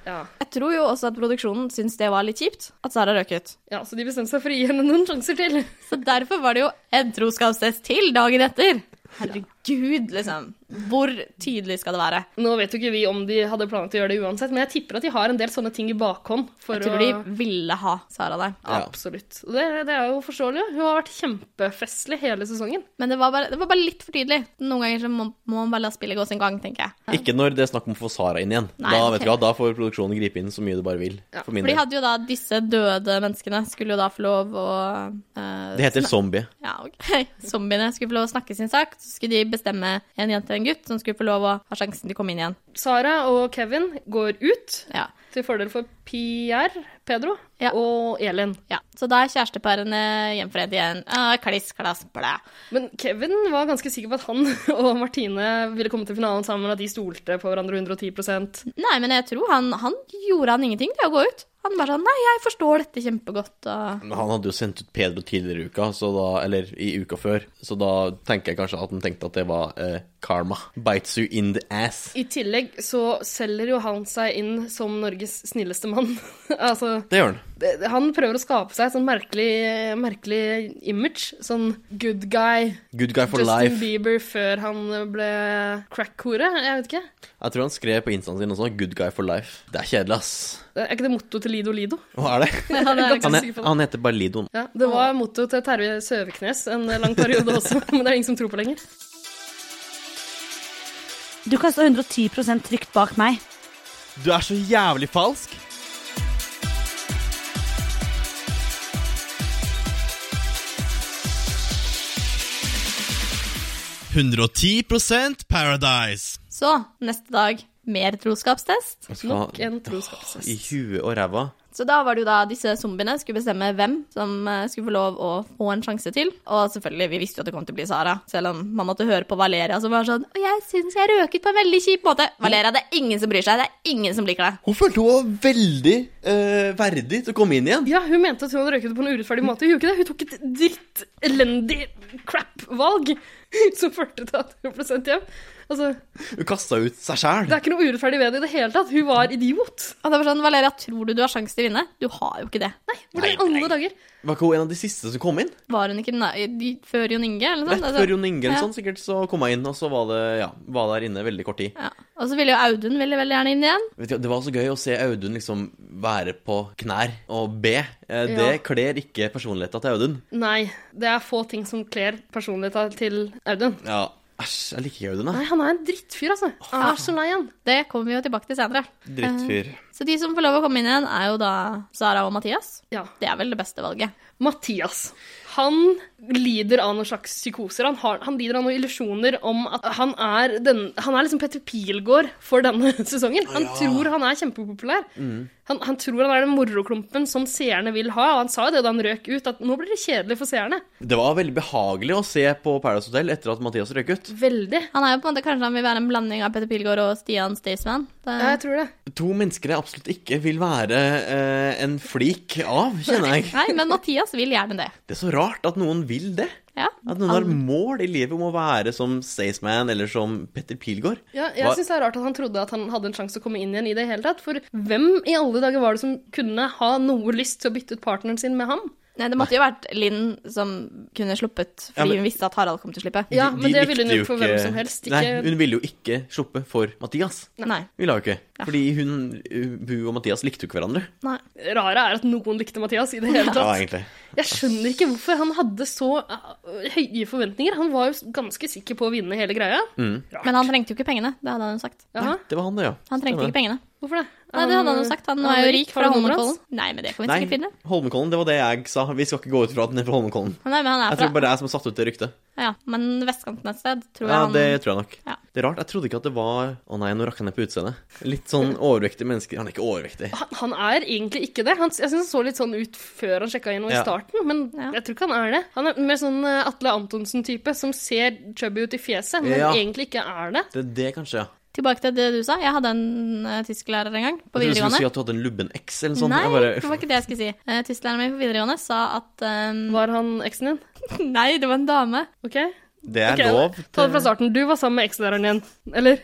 [SPEAKER 2] Ja.
[SPEAKER 4] Jeg tror jo også at produksjonen syntes det var litt kjipt at Sara røk ut.
[SPEAKER 2] ja, så de bestemte seg for å gi henne noen sjanser til.
[SPEAKER 4] Så derfor var det jo en troskapstest til dagen etter. Herregud, liksom. Hvor tydelig skal det være?
[SPEAKER 2] Nå vet jo ikke vi om de hadde planlagt å gjøre det uansett, men jeg tipper at de har en del sånne ting i bakhånd. For
[SPEAKER 4] Jeg tror
[SPEAKER 2] å...
[SPEAKER 4] de ville ha Sara der.
[SPEAKER 5] Ja.
[SPEAKER 2] Absolutt. Og Det, det er jo forståelig. Hun har vært kjempefestlig hele sesongen.
[SPEAKER 4] Men det var, bare, det var bare litt for tydelig. Noen ganger så må, må man bare la spillet gå sin gang, tenker jeg.
[SPEAKER 5] Ikke når det er snakk om å få Sara inn igjen.
[SPEAKER 4] Nei,
[SPEAKER 5] da,
[SPEAKER 4] ok.
[SPEAKER 5] vet du hva, da får produksjonen gripe inn så mye du bare vil.
[SPEAKER 2] Ja,
[SPEAKER 5] For min
[SPEAKER 4] For de
[SPEAKER 5] del.
[SPEAKER 4] hadde jo da disse døde menneskene skulle jo da få lov å eh,
[SPEAKER 5] Det heter zombie.
[SPEAKER 4] Ja, ok. Zombiene skulle få lov å snakke sin sak. Så skulle de bestemme en jente og en gutt som skulle få lov å ha sjansen til å komme inn igjen.
[SPEAKER 2] Sara og Kevin går ut
[SPEAKER 4] Ja.
[SPEAKER 2] til fordel for Pierre, Pedro
[SPEAKER 4] Ja.
[SPEAKER 2] og Elin.
[SPEAKER 4] ja. Så da er kjæresteparene gjenforent igjen. Ah, kliss, klass, blæ.
[SPEAKER 2] Men Kevin var ganske sikker på at han og Martine ville komme til finalen sammen, at de stolte på hverandre 110
[SPEAKER 4] Nei, men jeg tror han, han gjorde han ingenting til å gå ut. Han bare sånn Nei, jeg forstår dette kjempegodt. Og...
[SPEAKER 5] Men han hadde jo sendt ut Pedro tidligere i uka, så da, eller i uka før, så da tenker jeg kanskje at han tenkte at det var eh, karma. Bites you in the ass.
[SPEAKER 2] I tillegg så selger jo han seg inn som Norges snilleste mann. altså
[SPEAKER 5] Det gjør han.
[SPEAKER 2] det- Han prøver å skape seg et sånn merkelig, merkelig image. Sånn good guy.
[SPEAKER 5] Good guy for
[SPEAKER 2] Justin
[SPEAKER 5] life.
[SPEAKER 2] Bieber før han ble crack-hore. Jeg vet ikke.
[SPEAKER 5] Jeg tror han skrev på instaen sin også 'Good guy for life'. Det er kjedelig, ass.
[SPEAKER 2] Er ikke det motto til Lido Lido?
[SPEAKER 5] Hva er det?
[SPEAKER 2] Jeg er ganske
[SPEAKER 5] Han,
[SPEAKER 2] sikker
[SPEAKER 5] he-
[SPEAKER 2] på det.
[SPEAKER 5] han heter bare Lidoen.
[SPEAKER 2] Ja, det
[SPEAKER 4] Ah.
[SPEAKER 2] var motto til Terje Søviknes en lang periode også, men det er ingen som tror på lenger.
[SPEAKER 7] Du kan stå 110 trygt bak meg.
[SPEAKER 5] Du er så jævlig falsk!
[SPEAKER 4] Så neste dag mer troskapstest.
[SPEAKER 2] Nok en troskapstest.
[SPEAKER 5] I huet og ræva.
[SPEAKER 4] Så da var det jo da disse zombiene skulle bestemme hvem som eh, skulle få lov å få en sjanse til. Og selvfølgelig, vi visste jo at det kom til å bli Sara, selv om man måtte høre på Valeria som var sånn Og jeg syns jeg røket på en veldig kjip måte. Valeria, det er ingen som bryr seg. Det er ingen som liker deg.
[SPEAKER 5] Hun følte hun var veldig eh, verdig til å komme inn igjen.
[SPEAKER 2] Ja, hun mente at hun hadde røyket på en urettferdig måte. Hun gjorde ikke det. Hun tok et dritt, elendig crap-valg som førte til at hun ble sendt hjem. Altså,
[SPEAKER 5] Hun kasta ut seg sjæl.
[SPEAKER 2] det er ikke noe urettferdig ved det i det hele tatt. Hun var idiot.
[SPEAKER 4] Og det var sånn, Valeria, tror du du har sjanse til å vinne? Du har jo ikke det. Nei.
[SPEAKER 2] Hvordan i alle dager?
[SPEAKER 5] Var ikke hun en av de siste som kom inn?
[SPEAKER 4] Var hun ikke den der- de, før Jon Inge, eller noe
[SPEAKER 5] Rett
[SPEAKER 4] sånt? Altså,
[SPEAKER 5] før Jon Inge eller
[SPEAKER 4] ja.
[SPEAKER 5] sånn, sikkert, så kom hun inn, og så var det Ja, var der inne veldig kort tid.
[SPEAKER 4] Ja. Og så ville jo Audun veldig, veldig gjerne inn igjen.
[SPEAKER 5] Vet du, hva, det var så gøy å se Audun liksom være på knær og be. Eh, det
[SPEAKER 2] Ja.
[SPEAKER 5] kler ikke personligheten til Audun.
[SPEAKER 2] Nei, det er få ting som kler personligheten til Audun.
[SPEAKER 5] Ja, æsj, jeg liker ikke Audun,
[SPEAKER 2] Nei,
[SPEAKER 5] jeg.
[SPEAKER 2] han er en drittfyr, altså. Jeg er så lei han.
[SPEAKER 4] Det kommer vi jo tilbake til senere. Eh,
[SPEAKER 5] Drittfyr.
[SPEAKER 4] Så de som får lov å komme inn igjen, er jo da Sara og Mathias.
[SPEAKER 2] Ja.
[SPEAKER 4] Det er vel det beste valget.
[SPEAKER 2] Mathias. Han lider av noen slags psykoser. Han, har, han lider av noen illusjoner om at han er, den, han er liksom Petter Pilgaard for denne sesongen. Han tror han er kjempepopulær. Han, han tror han er den moroklumpen som seerne vil ha. Og han sa jo det da han røk ut, at nå blir det kjedelig for seerne.
[SPEAKER 5] Det var veldig behagelig å se på Paradise Hotel etter at Mathias røk ut.
[SPEAKER 2] Veldig.
[SPEAKER 4] Han er jo på en måte kanskje han vil være en blanding av Petter Pilgaard og Stian Staysman. Det...
[SPEAKER 2] Ja, jeg tror det.
[SPEAKER 5] To mennesker jeg absolutt ikke vil være eh, en flik av, kjenner jeg.
[SPEAKER 4] Nei, men Mathias oss vil gjerne det.
[SPEAKER 5] Det er så rart at noen vil det.
[SPEAKER 4] Ja.
[SPEAKER 5] At noen har mål i livet om å være som Staysman eller som Petter Pilgaard.
[SPEAKER 2] Ja, jeg
[SPEAKER 5] Hva-
[SPEAKER 2] synes det er rart at han trodde at han hadde en sjanse å komme inn igjen i det hele tatt. For hvem i alle dager var det som kunne ha noe lyst til å bytte ut partneren sin med ham?
[SPEAKER 4] Nei, det måtte jo vært Linn som kunne sluppet, fordi
[SPEAKER 5] Ja, men-
[SPEAKER 4] hun visste at Harald kom til å slippe.
[SPEAKER 2] Ja,
[SPEAKER 5] De-
[SPEAKER 2] men
[SPEAKER 5] de
[SPEAKER 2] det ville hun
[SPEAKER 5] likte
[SPEAKER 2] gjort for hvem som helst. Ikke...
[SPEAKER 5] Nei, hun ville jo ikke sluppe for Mathias.
[SPEAKER 4] Nei.
[SPEAKER 5] Ville hun ikke. Fordi hun, eh, hun og Mathias likte jo ikke hverandre.
[SPEAKER 4] Nei.
[SPEAKER 2] Rare er at noen likte Mathias i det hele
[SPEAKER 5] Ja,
[SPEAKER 2] tatt.
[SPEAKER 5] egentlig.
[SPEAKER 2] Jeg skjønner ikke hvorfor han hadde så eh, høye forventninger. Han var jo s- ganske sikker på å vinne hele greia.
[SPEAKER 5] Mm.
[SPEAKER 4] Men han trengte jo ikke pengene, det hadde han jo sagt.
[SPEAKER 2] Jaha,
[SPEAKER 5] Det var han, det, ja.
[SPEAKER 4] Han trengte ikke pengene.
[SPEAKER 2] hvorfor det?
[SPEAKER 4] Nei, det hadde han jo sagt. Han var
[SPEAKER 2] er
[SPEAKER 4] jo
[SPEAKER 2] rik.
[SPEAKER 4] rik
[SPEAKER 2] Har du
[SPEAKER 4] fra
[SPEAKER 2] nummeret
[SPEAKER 4] Holmenkollen. Nei, men det kan vi
[SPEAKER 5] Nei,
[SPEAKER 4] sikkert finne.
[SPEAKER 5] Holmenkollen, det var det jeg sa. Vi skal ikke gå ut fra at den er fra Holmenkollen.
[SPEAKER 4] Nei, men han er
[SPEAKER 5] Jeg tror
[SPEAKER 4] fra
[SPEAKER 5] bare det er jeg som har satt ut det ryktet.
[SPEAKER 4] Ja, men vestkanten et sted, tror jeg
[SPEAKER 5] Ja,
[SPEAKER 4] han
[SPEAKER 5] det tror jeg nok.
[SPEAKER 4] Ja.
[SPEAKER 5] Det er rart. Jeg trodde ikke at det var Å nei, nå rakk jeg ned på utseendet. Litt sånn overvektig menneske Han er ikke overvektig.
[SPEAKER 2] Han, han er egentlig ikke det. Han, jeg syns han så litt sånn ut før han sjekka inn og i
[SPEAKER 5] Ja.
[SPEAKER 2] starten, men
[SPEAKER 4] Ja.
[SPEAKER 2] jeg tror ikke han er det. Han er mer sånn eh, Atle Antonsen-type som ser chubby ut i fjeset, men
[SPEAKER 5] Ja.
[SPEAKER 2] egentlig ikke er det.
[SPEAKER 5] Det er det, kanskje, ja.
[SPEAKER 4] Tilbake til det du sa. Jeg hadde en eh, tysklærer en gang på
[SPEAKER 5] Jeg trodde du skulle si
[SPEAKER 4] videregående.
[SPEAKER 5] at du hadde en lubben X eller noe sånt.
[SPEAKER 4] Nei,
[SPEAKER 5] Jeg
[SPEAKER 4] det
[SPEAKER 5] bare,
[SPEAKER 4] var ikke det jeg skulle si. Eh, Tysklæreren min på videregående sa at eh,
[SPEAKER 2] Var han eksen din?
[SPEAKER 4] Nei, det var en dame.
[SPEAKER 2] OK?
[SPEAKER 5] det er
[SPEAKER 2] Ok,
[SPEAKER 5] lov.
[SPEAKER 2] Ta det fra starten. Du var sammen med ekslæreren din, eller?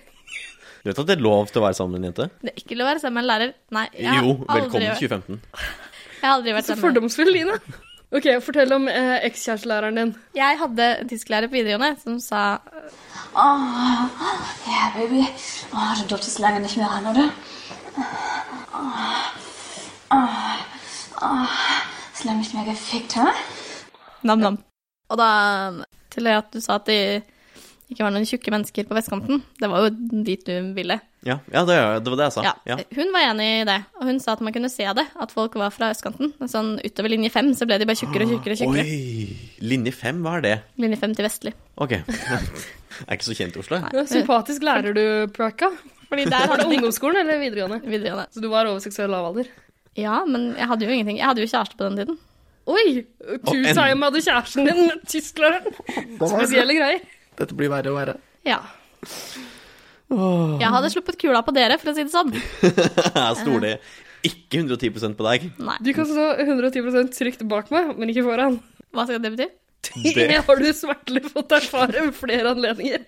[SPEAKER 5] Du vet at det er lov til å være sammen med en jente?
[SPEAKER 4] Det er ikke lov å være sammen med en lærer. Nei, jeg har
[SPEAKER 5] Jo,
[SPEAKER 4] aldri,
[SPEAKER 5] velkommen
[SPEAKER 4] vært-
[SPEAKER 5] 2015.
[SPEAKER 4] jeg har aldri vært
[SPEAKER 2] Så
[SPEAKER 4] sammen med
[SPEAKER 2] fordomsfull, Line. OK, fortell om eh, ekskjærestelæreren din.
[SPEAKER 4] Jeg hadde en tysklærer på videregående som sa
[SPEAKER 8] Oh, Ja, Baby. Oh, du durftest lange nicht mehr ran, oder? Oh, oh, oh. Hast lange nicht mehr gefickt, ha?
[SPEAKER 4] nam-nam. Og da Til det at du sa at det ikke var noen tjukke mennesker på vestkanten. Det var jo dit du ville.
[SPEAKER 5] Ja, ja det, er- det var det jeg sa.
[SPEAKER 4] Ja.
[SPEAKER 5] Ja.
[SPEAKER 4] Hun var enig i det, og hun sa at man kunne se det, at folk var fra østkanten. Sånn utover linje fem så ble de bare tjukkere og tjukkere. og tjukkere.
[SPEAKER 5] Ah, Oi! Linje fem, hva er det?
[SPEAKER 4] Linje fem til vestlig.
[SPEAKER 5] Ok. Jeg er ikke så kjent i Oslo. jeg.
[SPEAKER 2] Ja, Sympatisk lærer du, Praka.
[SPEAKER 4] Fordi der
[SPEAKER 2] Var
[SPEAKER 4] hadde
[SPEAKER 2] det
[SPEAKER 4] de
[SPEAKER 2] ungdomsskolen eller videregående?
[SPEAKER 4] videregående.
[SPEAKER 2] Så du var over seksuell lavalder?
[SPEAKER 4] Ja, men jeg hadde jo ingenting. Jeg hadde jo kjæreste på den tiden.
[SPEAKER 2] Oi!
[SPEAKER 5] Og en-
[SPEAKER 2] Du sa jo med hadde kjæresten din med tysklæreren. Spesielle greier.
[SPEAKER 9] Dette blir verre og verre.
[SPEAKER 4] Ja. Jeg hadde sluppet kula på dere, for å si det sånn.
[SPEAKER 5] Jeg stoler ikke 110 på deg.
[SPEAKER 4] Nei.
[SPEAKER 2] Du kan stå 110 trygt bak meg, men ikke foran.
[SPEAKER 4] Hva skal det bety?
[SPEAKER 2] Det har du smertelig fått erfare ved flere anledninger.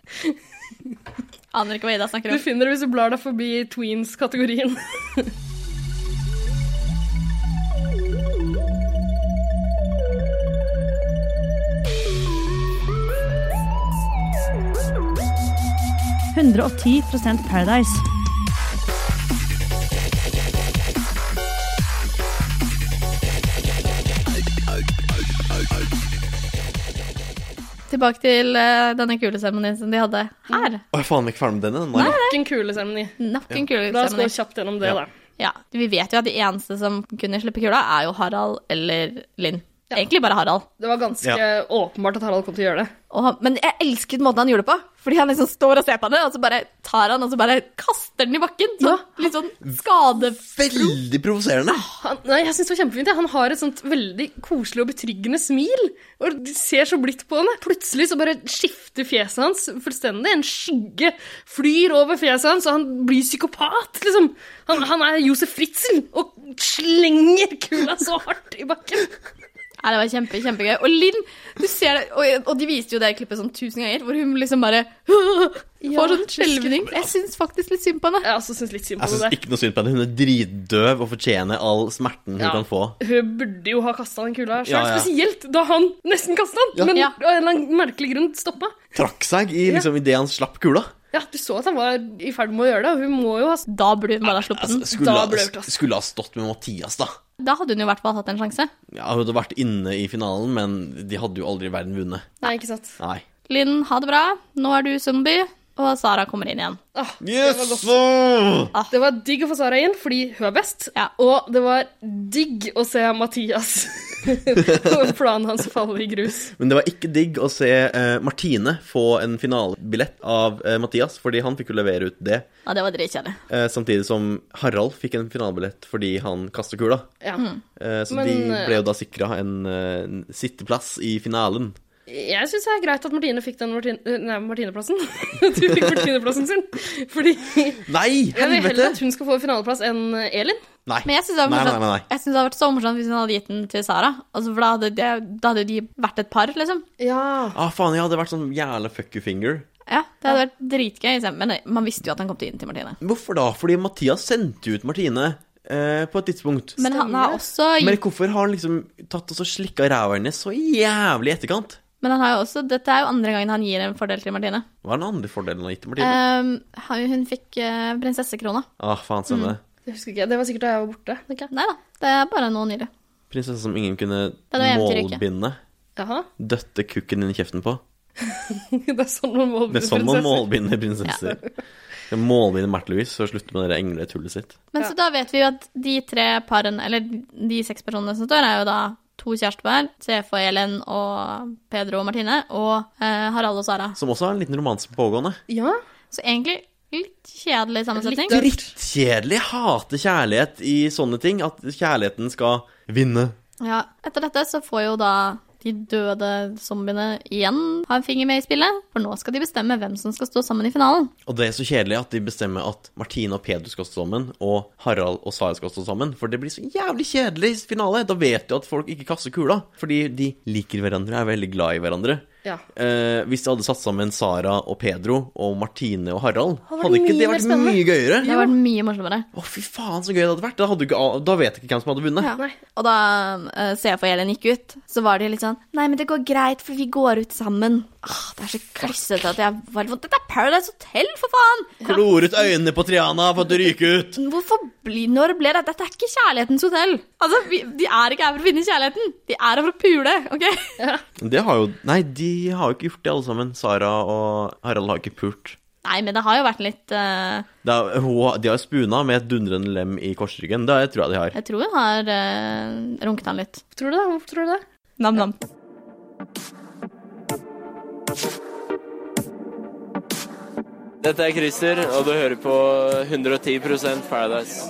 [SPEAKER 4] Aner ikke hva Ida snakker
[SPEAKER 2] Du
[SPEAKER 4] om.
[SPEAKER 2] finner det hvis du blar deg forbi tweens-kategorien.
[SPEAKER 7] det. 110 Paradise.
[SPEAKER 4] Tilbake til eh, denne kuleseremonien som de hadde her.
[SPEAKER 5] Å, jeg er faen meg ikke ferdig med denne. Nei.
[SPEAKER 2] Ikke en kuleseremoni.
[SPEAKER 4] Nok en
[SPEAKER 2] La oss gå
[SPEAKER 4] kuleseremoni.
[SPEAKER 2] kjapt gjennom det, da.
[SPEAKER 4] Ja, vi vet jo at de eneste som kunne slippe kula, er jo Harald eller Linn. Egentlig bare Harald.
[SPEAKER 2] Det var ganske åpenbart at Harald kom til å gjøre det.
[SPEAKER 4] Og han, men jeg elsket måten han gjorde det på. Fordi han liksom står og ser på henne, og så bare tar han og så bare kaster den i bakken. Så, Litt sånn skade...
[SPEAKER 5] Veldig provoserende.
[SPEAKER 2] Han, nei, jeg synes det var kjempefint. jeg. Han har et sånt veldig koselig og betryggende smil. Og de ser så blidt på henne. Plutselig så bare skifter fjeset hans fullstendig. En skygge flyr over fjeset hans, og han blir psykopat, liksom. Han, han er Josef Fritzl og slenger kula så hardt i bakken.
[SPEAKER 4] Nei, det var kjempe, kjempegøy. Og Linn, du ser det, og, og de viste jo det klippet sånn tusen ganger, hvor hun liksom bare får sånn skjelvning. Jeg syns faktisk litt synd på henne.
[SPEAKER 2] Jeg også synes litt synd
[SPEAKER 5] Jeg
[SPEAKER 2] på
[SPEAKER 5] syns
[SPEAKER 2] det.
[SPEAKER 5] ikke noe synd på henne. Hun er dritdøv og fortjener all smerten hun
[SPEAKER 2] Ja.
[SPEAKER 5] kan få.
[SPEAKER 2] Hun burde jo ha kasta den kula sjøl,
[SPEAKER 5] Ja, ja.
[SPEAKER 2] spesielt da han nesten kasta den, men
[SPEAKER 4] Ja.
[SPEAKER 2] av en eller annen merkelig grunn stoppa.
[SPEAKER 5] Trakk seg i liksom, idet han slapp kula.
[SPEAKER 2] Ja, du så at han var i ferd med å gjøre det, og hun må jo ha
[SPEAKER 4] Da burde hun bare ha sluppet den.
[SPEAKER 5] Altså, Skulle,
[SPEAKER 2] Da
[SPEAKER 5] ha-
[SPEAKER 2] ble det plass.
[SPEAKER 5] skulle ha stått med Mathias, da.
[SPEAKER 4] Da hadde hun i hvert fall hatt en sjanse.
[SPEAKER 5] Ja, Hun hadde vært inne i finalen, men de hadde jo aldri i verden vunnet.
[SPEAKER 2] Nei, ikke sant.
[SPEAKER 5] Nei.
[SPEAKER 4] Linn, ha det bra. Nå er du zombie. Og Sara kommer inn igjen.
[SPEAKER 2] Ah, det var
[SPEAKER 5] Yes!
[SPEAKER 2] godt.
[SPEAKER 5] så-
[SPEAKER 2] Det var digg å få Sara inn, fordi hun er best.
[SPEAKER 4] Ja.
[SPEAKER 2] Og det var digg å se Mathias og planen hans falle i grus.
[SPEAKER 5] Men det var ikke digg å se eh, Martine få en finalebillett av eh, Mathias, fordi han fikk jo levere ut det.
[SPEAKER 4] Ja, det var dritkjedelig.
[SPEAKER 5] Eh, samtidig som Harald fikk en finalebillett fordi han kaster kula.
[SPEAKER 2] Ja.
[SPEAKER 5] Eh, så
[SPEAKER 2] Men,
[SPEAKER 5] de ble jo da sikra en eh, sitteplass i finalen.
[SPEAKER 2] Jeg syns det er greit at Martine fikk den Martine, nei, Martineplassen. At hun fikk Martineplassen sin. Fordi jeg
[SPEAKER 5] Nei!
[SPEAKER 2] vil heller
[SPEAKER 5] Helvete!
[SPEAKER 2] at hun skal få finaleplass enn Elin.
[SPEAKER 5] Nei.
[SPEAKER 4] Men jeg syns det, var
[SPEAKER 5] Nei, nei,
[SPEAKER 4] morsomt-
[SPEAKER 5] nei, nei.
[SPEAKER 4] jeg synes det hadde vært så morsomt hvis hun hadde gitt den til Sara. Altså, for da hadde, det, da hadde de vært et par, liksom.
[SPEAKER 2] Ja.
[SPEAKER 5] Ah, faen, jeg hadde vært sånn jævla fuck you finger.
[SPEAKER 4] Ja, Det hadde vært dritgøy. liksom. Men man visste jo at han kom til å gi den til Martine.
[SPEAKER 5] Hvorfor da? Fordi Mathias sendte ut Martine eh, på et tidspunkt.
[SPEAKER 4] Men han har også
[SPEAKER 5] Men hvorfor har han liksom tatt og så slikka ræva hennes så jævlig i etterkant?
[SPEAKER 4] Men han har jo også, dette er jo andre gangen han gir en fordel til Martine.
[SPEAKER 5] Hva er den andre fordelen han har gitt til Martine?
[SPEAKER 4] Um, han- hun fikk eh, prinsessekrona.
[SPEAKER 5] ah, faen,
[SPEAKER 4] mm.
[SPEAKER 5] stemmer det.
[SPEAKER 2] Det husker ikke jeg. Det var sikkert da jeg var borte. tenker jeg.
[SPEAKER 4] Nei da, det er bare noe nylig.
[SPEAKER 5] Prinsesse som ingen kunne
[SPEAKER 4] Den er eventyrrike.
[SPEAKER 5] målbinde.
[SPEAKER 2] Jaha.
[SPEAKER 5] Døtte kukken din i kjeften på.
[SPEAKER 2] Det er sånn man må
[SPEAKER 5] Det er sånn man målbinder prinsesser. Ja. Målbinder Märtha Louise og slutter med det der engletullet sitt.
[SPEAKER 4] Men så da vet vi jo at de tre parene, eller de seks personene som står, er jo da to kjærestepar, CF og Elin og Pedro og Martine, og eh, Harald og Sara.
[SPEAKER 5] Som også har en liten romanse pågående.
[SPEAKER 2] Ja.
[SPEAKER 4] Så egentlig litt kjedelig sammensetning.
[SPEAKER 2] Litt
[SPEAKER 5] Drittkjedelig. Hater kjærlighet i sånne ting. At kjærligheten skal vinne.
[SPEAKER 4] Ja, etter dette så får jo da de døde zombiene igjen ha en finger med i spillet, for nå skal de bestemme hvem som skal stå sammen i finalen.
[SPEAKER 5] Og det er så kjedelig at de bestemmer at Martine og Pedro skal stå sammen, og Harald og Sara skal stå sammen. For det blir så jævlig kjedelig i finale. Da vet du at folk ikke kaster kula. Fordi de liker hverandre, er veldig glad i hverandre.
[SPEAKER 2] Ja.
[SPEAKER 5] Eh, hvis de hadde satt sammen Sara og Pedro og Martine og Harald,
[SPEAKER 2] vært
[SPEAKER 5] hadde, ikke
[SPEAKER 2] mye
[SPEAKER 5] det
[SPEAKER 2] mer
[SPEAKER 5] vært
[SPEAKER 2] spennende.
[SPEAKER 5] mye gøyere?
[SPEAKER 4] Det har vært mye morsommere.
[SPEAKER 5] Å, fy faen, så gøy det hadde vært. Da, hadde du ikke, da vet jeg ikke hvem som hadde vunnet.
[SPEAKER 2] Nei.
[SPEAKER 4] Og da eh, CF og Elin gikk ut, så var de litt sånn Nei, men det går greit, for vi går ut sammen. Åh, det er så klissete at jeg var litt sånn, Dette er Paradise Hotel, for faen!
[SPEAKER 5] Kloret øynene på Triana for at du ryker ut.
[SPEAKER 4] Hvorfor bli, når ble det Dette er ikke kjærlighetens hotell. Altså, vi, De er ikke her for å finne kjærligheten. De er her for å pule. ok?
[SPEAKER 5] Det har jo Nei, de har jo ikke gjort det, alle sammen. Sara og Harald har ikke pult.
[SPEAKER 4] Nei, men det har jo vært litt eh,
[SPEAKER 5] Det er, hun, de har spuna med et dundrende lem i korsryggen. Det tror jeg de har.
[SPEAKER 4] Jeg tror hun har eh, runket han litt.
[SPEAKER 2] Tror du det? Hvorfor tror du det?
[SPEAKER 4] Nam-nam.
[SPEAKER 9] Dette er Christer, og du hører på 110 Paradise.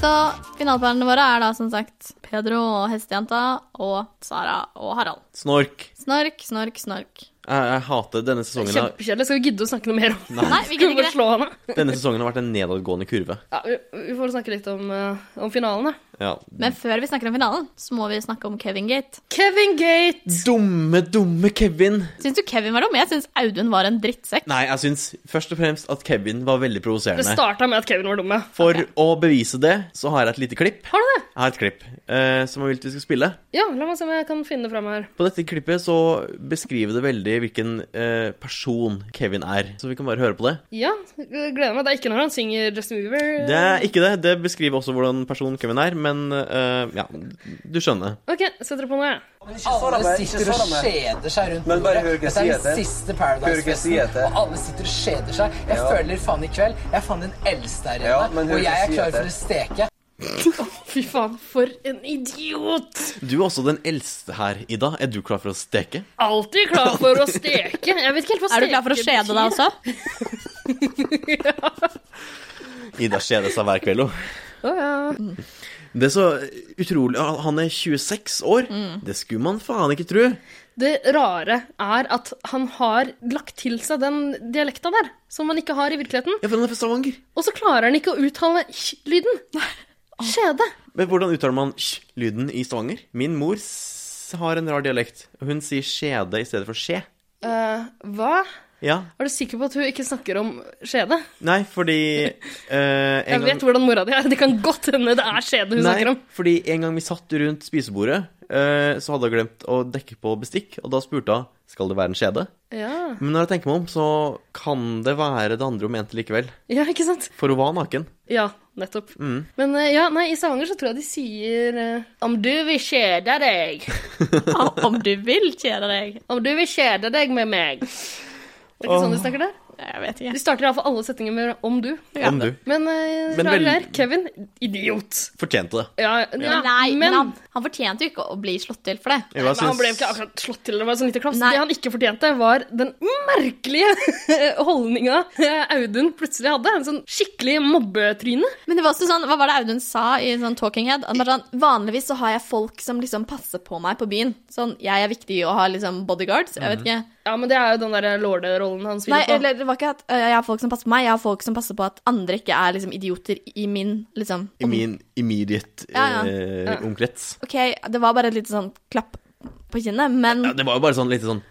[SPEAKER 4] Så finaleparene våre er da som sagt Pedro og hestejenta og Sara og Harald.
[SPEAKER 5] Snork.
[SPEAKER 4] Snork, snork, snork.
[SPEAKER 5] Jeg, jeg hater denne sesongen. har-
[SPEAKER 2] Kjempekjedelig. Skal vi gidde å snakke noe mer om det?
[SPEAKER 4] Nei, vi
[SPEAKER 2] Skal vi bare
[SPEAKER 4] gidder ikke det.
[SPEAKER 2] slå henne?
[SPEAKER 5] Denne sesongen har vært en nedadgående kurve.
[SPEAKER 2] Ja, vi, vi får snakke litt om, eh, om finalen, da.
[SPEAKER 5] Ja.
[SPEAKER 4] Men før vi snakker om finalen, så må vi snakke om Kevin Gate.
[SPEAKER 2] Kevin Gate!
[SPEAKER 5] Dumme, dumme Kevin.
[SPEAKER 4] Syns du Kevin var dum? Jeg syns Audun var en drittsekk.
[SPEAKER 5] Nei, jeg syns først og fremst at Kevin var veldig
[SPEAKER 2] Det
[SPEAKER 5] provoserende.
[SPEAKER 2] starta med at Kevin var dumme.
[SPEAKER 5] For å bevise det, så har jeg et lite klipp.
[SPEAKER 2] Har du det?
[SPEAKER 5] Jeg har et klipp eh, som jeg vil at vi skal spille.
[SPEAKER 2] Ja, la meg se om jeg kan finne det fram her.
[SPEAKER 5] På dette klippet så beskriver det veldig hvilken eh, person Kevin er. Så vi kan bare høre på det.
[SPEAKER 2] Ja, gleder meg. Det er ikke når han synger Justin Bieber.
[SPEAKER 5] Det er ikke det. Det beskriver også hvordan personen Kevin er, men eh, ja, du skjønner.
[SPEAKER 2] OK, setter dere på noe, jeg.
[SPEAKER 10] Alle sitter og skjeder seg rundt Men bare hør hva jeg sier til siste Paradise-festen, og alle sitter og skjeder seg. Jeg føler faen i kveld, jeg er faen den eldste her inne, og jeg er klar for å steke.
[SPEAKER 2] Fy faen, for en idiot!
[SPEAKER 5] Du er også den eldste her, Ida. Er du klar for å steke?
[SPEAKER 2] Alltid klar for å steke. Jeg vet ikke helt hva
[SPEAKER 4] Er
[SPEAKER 2] steke
[SPEAKER 4] du klar for å skjede deg også?
[SPEAKER 5] Ida skjeder seg hver kveld, hun.
[SPEAKER 2] Å, ja.
[SPEAKER 5] Det er så utrolig Han er 26 år.
[SPEAKER 2] Mm.
[SPEAKER 5] Det skulle man faen ikke tro.
[SPEAKER 2] Det rare er at han har lagt til seg den dialekta der, som man ikke har i virkeligheten.
[SPEAKER 5] Ja, for han er fra Stavanger.
[SPEAKER 2] Og så klarer han ikke å uttale kj-lyden. Skjede.
[SPEAKER 5] Men hvordan uttaler man sj-lyden i Stavanger? Min mor s har en rar dialekt. Hun sier skjede i stedet for skje.
[SPEAKER 2] Eh, hva?
[SPEAKER 5] Ja.
[SPEAKER 2] Er du sikker på at hun ikke snakker om skjede?
[SPEAKER 5] Nei, fordi eh,
[SPEAKER 2] Jeg
[SPEAKER 5] en gang-
[SPEAKER 2] vet hvordan mora di er. Det kan godt hende det er skjede hun snakker
[SPEAKER 5] Nei,
[SPEAKER 2] om.
[SPEAKER 5] fordi en gang vi satt rundt spisebordet, eh, så hadde jeg glemt å dekke på bestikk, og da spurte hun skal det være en skjede.
[SPEAKER 2] Ja,
[SPEAKER 5] Men når jeg tenker meg om, så kan det være det andre hun mente likevel.
[SPEAKER 2] ja ikke sant?
[SPEAKER 5] For hun var naken.
[SPEAKER 2] Ja, nettopp. Men eh, ja, nei, i Stavanger så tror jeg de sier eh, Om du vil kjede deg,
[SPEAKER 4] Ja, Om du vil, kjære deg.
[SPEAKER 2] om du vil kjede deg med meg. Det er ikke sånn de snakker der?
[SPEAKER 4] Jeg vet
[SPEAKER 2] De
[SPEAKER 4] ikke.
[SPEAKER 2] starter iallfall alle setninger med 'om du'.
[SPEAKER 4] Ja.
[SPEAKER 5] Om du
[SPEAKER 2] Men, eh,
[SPEAKER 5] Men
[SPEAKER 2] rar
[SPEAKER 5] vel-
[SPEAKER 2] der, Kevin, idiot.
[SPEAKER 5] fortjente det.
[SPEAKER 2] Ja, ja,
[SPEAKER 4] Nei, men
[SPEAKER 2] men
[SPEAKER 4] han, han fortjente jo ikke å bli slått til for det.
[SPEAKER 5] Jeg
[SPEAKER 2] Men
[SPEAKER 5] bare
[SPEAKER 2] han
[SPEAKER 5] syns-
[SPEAKER 2] ble jo ikke akkurat slått til, det var sånn lite klaps.
[SPEAKER 4] Nei.
[SPEAKER 2] Det han ikke fortjente, var den merkelige holdninga eh, Audun plutselig hadde. En sånn skikkelig mobbetryne.
[SPEAKER 4] Men det var også sånn, hva var det Audun sa i sånn Talking Head? Han bare sånn, Vanligvis så har jeg folk som liksom passer på meg på byen. Sånn, jeg er viktig å ha liksom bodyguards. Jeg vet ikke.
[SPEAKER 2] Ja, men det er jo den der lorderollen han
[SPEAKER 4] Nei,
[SPEAKER 2] spiller på.
[SPEAKER 4] eller det var ikke at øh, jeg har folk som passer på meg, jeg har folk som passer på at andre ikke er liksom idioter i min liksom
[SPEAKER 5] I min immediate
[SPEAKER 4] Ja, ja.
[SPEAKER 5] eh, omkrets.
[SPEAKER 4] OK, det var bare et lite sånn klapp på kinnet, men,
[SPEAKER 5] Ja, det var jo bare sånn lite sånn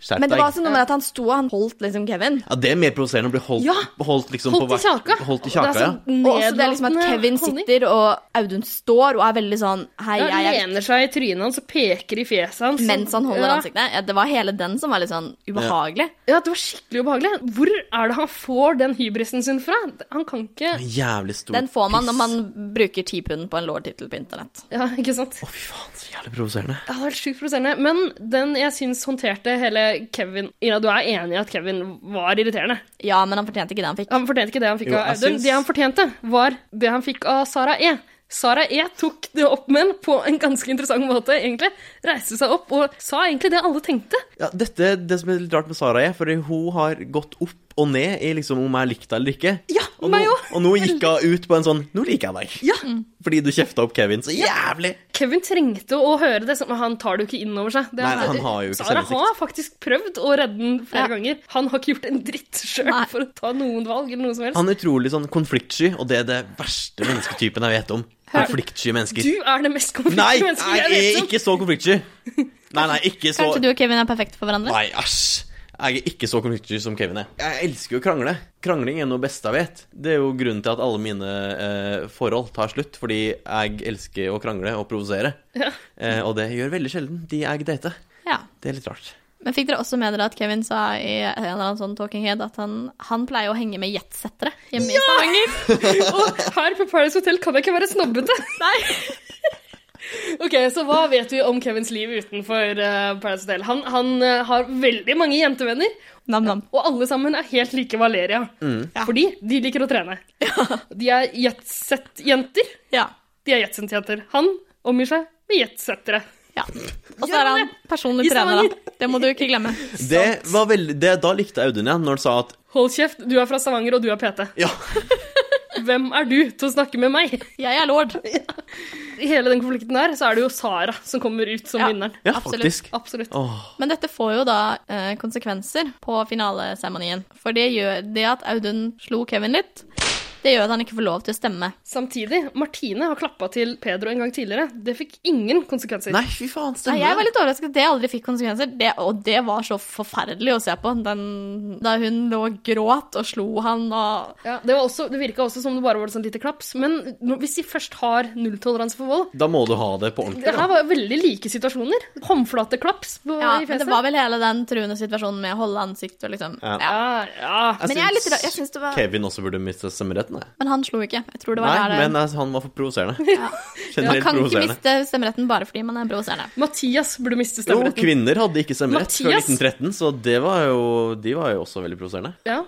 [SPEAKER 5] Skjerp
[SPEAKER 4] men det
[SPEAKER 5] deg.
[SPEAKER 4] var også noe med at han sto og han holdt liksom Kevin.
[SPEAKER 5] Ja, det er mer provoserende å bli holdt,
[SPEAKER 2] Ja.
[SPEAKER 5] holdt liksom
[SPEAKER 2] Holdt
[SPEAKER 5] på
[SPEAKER 2] i kjaka.
[SPEAKER 5] hvert- Holdt i
[SPEAKER 2] Det
[SPEAKER 5] kjaka,
[SPEAKER 2] er
[SPEAKER 5] ja.
[SPEAKER 2] sånn
[SPEAKER 4] Og også det liksom at
[SPEAKER 2] nedlatende
[SPEAKER 4] Kevin
[SPEAKER 2] holdning.
[SPEAKER 4] sitter, og Audun står og er veldig sånn Hei,
[SPEAKER 2] Ja,
[SPEAKER 4] jeg er
[SPEAKER 2] lener seg i trynet hans og peker i fjeset hans.
[SPEAKER 4] Mens han holder
[SPEAKER 2] ja.
[SPEAKER 4] ansiktet. liksom." Ja, det var hele den som var litt sånn ubehagelig.
[SPEAKER 2] Ja, det var skikkelig ubehagelig. Hvor er det han får den hybrisen sin fra? Han kan ikke
[SPEAKER 5] Jævlig stor
[SPEAKER 4] Den får man
[SPEAKER 5] piss.
[SPEAKER 4] når man bruker ti pund på en lårtittel på internett.
[SPEAKER 2] Ja, ikke sant?
[SPEAKER 5] Å, fy faen, så jævlig provoserende.
[SPEAKER 2] Ja, det var helt sjukt provoserende. Men den jeg syns håndterte hele Kevin Ina, du er enig i at Kevin var irriterende?
[SPEAKER 4] Ja, men han fortjente ikke det han fikk.
[SPEAKER 2] Han fortjente ikke det han fikk
[SPEAKER 5] Jo,
[SPEAKER 2] av
[SPEAKER 5] jeg
[SPEAKER 2] Audun.
[SPEAKER 5] syns-
[SPEAKER 2] Det han fortjente, var det han fikk av Sara E. Sara E tok det opp med en på en ganske interessant måte, egentlig. Reiste seg opp og sa egentlig det alle tenkte.
[SPEAKER 5] Ja, dette, det som er litt rart med Sara er, for hun har gått opp og ned i liksom om jeg likte deg eller ikke.
[SPEAKER 2] Ja,
[SPEAKER 5] og
[SPEAKER 2] meg
[SPEAKER 5] nå,
[SPEAKER 2] også.
[SPEAKER 5] og nå gikk hun ut på en sånn 'nå liker jeg deg', Mm.
[SPEAKER 2] Ja.
[SPEAKER 5] fordi du kjefta opp Kevin så jævlig.
[SPEAKER 2] Kevin trengte å høre det, men han tar det jo ikke inn over seg. Det
[SPEAKER 5] Nei, han har jo ikke
[SPEAKER 2] Sara
[SPEAKER 5] selvinnsikt.
[SPEAKER 2] har faktisk prøvd å redde den flere
[SPEAKER 4] Ja.
[SPEAKER 2] ganger. Han har ikke gjort en dritt sjøl
[SPEAKER 4] Nei.
[SPEAKER 2] for å ta noen valg eller noe som helst.
[SPEAKER 5] Han er utrolig sånn konfliktsky, og det er det verste mennesketypen jeg vet om. Konfliktsky mennesker.
[SPEAKER 2] Du er det mest
[SPEAKER 5] Nei,
[SPEAKER 2] konfliktfylte mennesket jeg
[SPEAKER 5] jeg
[SPEAKER 2] vet
[SPEAKER 5] er
[SPEAKER 2] om.
[SPEAKER 5] ikke så konfliktsky. Nei, nei, ikke så
[SPEAKER 4] Kanskje du og Kevin er perfekte for hverandre?
[SPEAKER 5] Nei, æsj. Jeg er ikke så konfliktsky som Kevin er. Jeg elsker jo å krangle. Krangling er noe beste jeg vet. Det er jo grunnen til at alle mine eh, forhold tar slutt, fordi jeg elsker å krangle og provosere. Eh, og det gjør veldig sjelden de jeg dater.
[SPEAKER 4] Ja.
[SPEAKER 5] Det er litt rart.
[SPEAKER 4] Men fikk dere også med dere at Kevin sa i en eller annen sånn talking head at han, han pleier å henge med jetsettere hjemme i Stavanger?
[SPEAKER 2] Og her på Paradise Hotel kan jeg ikke være snobbete. Nei. Ok, Så hva vet vi om Kevins liv utenfor eh, Paradise Hotel? Han, han eh, har veldig mange jentevenner,
[SPEAKER 4] Nam-nam.
[SPEAKER 2] og alle sammen er helt like Valeria. Fordi de liker å trene. De er jetset-jenter.
[SPEAKER 4] Ja.
[SPEAKER 2] De er jetset-jenter. Han omgir seg med jetsettere.
[SPEAKER 4] ja. Og så er han
[SPEAKER 2] I
[SPEAKER 4] personlig trener,
[SPEAKER 2] Stavanger.
[SPEAKER 4] da. Det må du ikke glemme.
[SPEAKER 5] Det var veldig, det, da likte jeg Audun igjen, når han sa at
[SPEAKER 2] Hold kjeft, du er fra Stavanger, og du er PT.
[SPEAKER 5] Ja.
[SPEAKER 2] Hvem er du til å snakke med meg?
[SPEAKER 4] Jeg er lord.
[SPEAKER 2] I hele den konflikten der, så er det jo Sara som kommer ut som
[SPEAKER 4] Ja.
[SPEAKER 2] vinneren.
[SPEAKER 5] Ja,
[SPEAKER 4] Absolutt.
[SPEAKER 5] faktisk.
[SPEAKER 2] Absolutt.
[SPEAKER 5] Åh,
[SPEAKER 4] Men dette får jo da eh, konsekvenser på finaleseremonien. For det gjør det at Audun slo Kevin litt. Det gjør at han ikke får lov til å stemme.
[SPEAKER 2] Samtidig, Martine har klappa til Pedro en gang tidligere. Det fikk ingen konsekvenser.
[SPEAKER 5] nei, fy faen,
[SPEAKER 4] Nei,
[SPEAKER 5] stemmer
[SPEAKER 4] jeg var
[SPEAKER 5] det?
[SPEAKER 4] litt overrasket at det aldri fikk konsekvenser, det, og det var så forferdelig å se på. Den, da hun lå og gråt og slo han og
[SPEAKER 2] Ja, det var også, det virka også som det bare var et sånt lite klaps. Men nå- hvis de først har nulltoleranse for vold
[SPEAKER 5] Da må du ha det på ordentlig.
[SPEAKER 2] Det her
[SPEAKER 5] Da.
[SPEAKER 2] var veldig like situasjoner. Håndflateklaps på-
[SPEAKER 4] ja,
[SPEAKER 2] i
[SPEAKER 4] men
[SPEAKER 2] fjeset.
[SPEAKER 4] Det var vel hele den truende situasjonen med å holde ansikt og liksom
[SPEAKER 5] Ja.
[SPEAKER 4] ja.
[SPEAKER 2] Ja, ja.
[SPEAKER 4] Men jeg er litt ra- jeg syns det var
[SPEAKER 5] Kevin også burde miste stemmeretten. jeg.
[SPEAKER 4] Men han slo ikke. Jeg tror det
[SPEAKER 5] Nei,
[SPEAKER 4] var der
[SPEAKER 5] men jeg- han var for provoserende.
[SPEAKER 4] Man
[SPEAKER 5] Generelt
[SPEAKER 4] kan ikke
[SPEAKER 5] provoserende.
[SPEAKER 4] miste stemmeretten bare fordi man er provoserende.
[SPEAKER 2] Mathias burde miste
[SPEAKER 5] Jo,
[SPEAKER 2] stemmeretten.
[SPEAKER 5] kvinner hadde ikke stemmerett før
[SPEAKER 2] Mathias!
[SPEAKER 5] 1913, så det var jo, de var jo også veldig provoserende.
[SPEAKER 2] ja.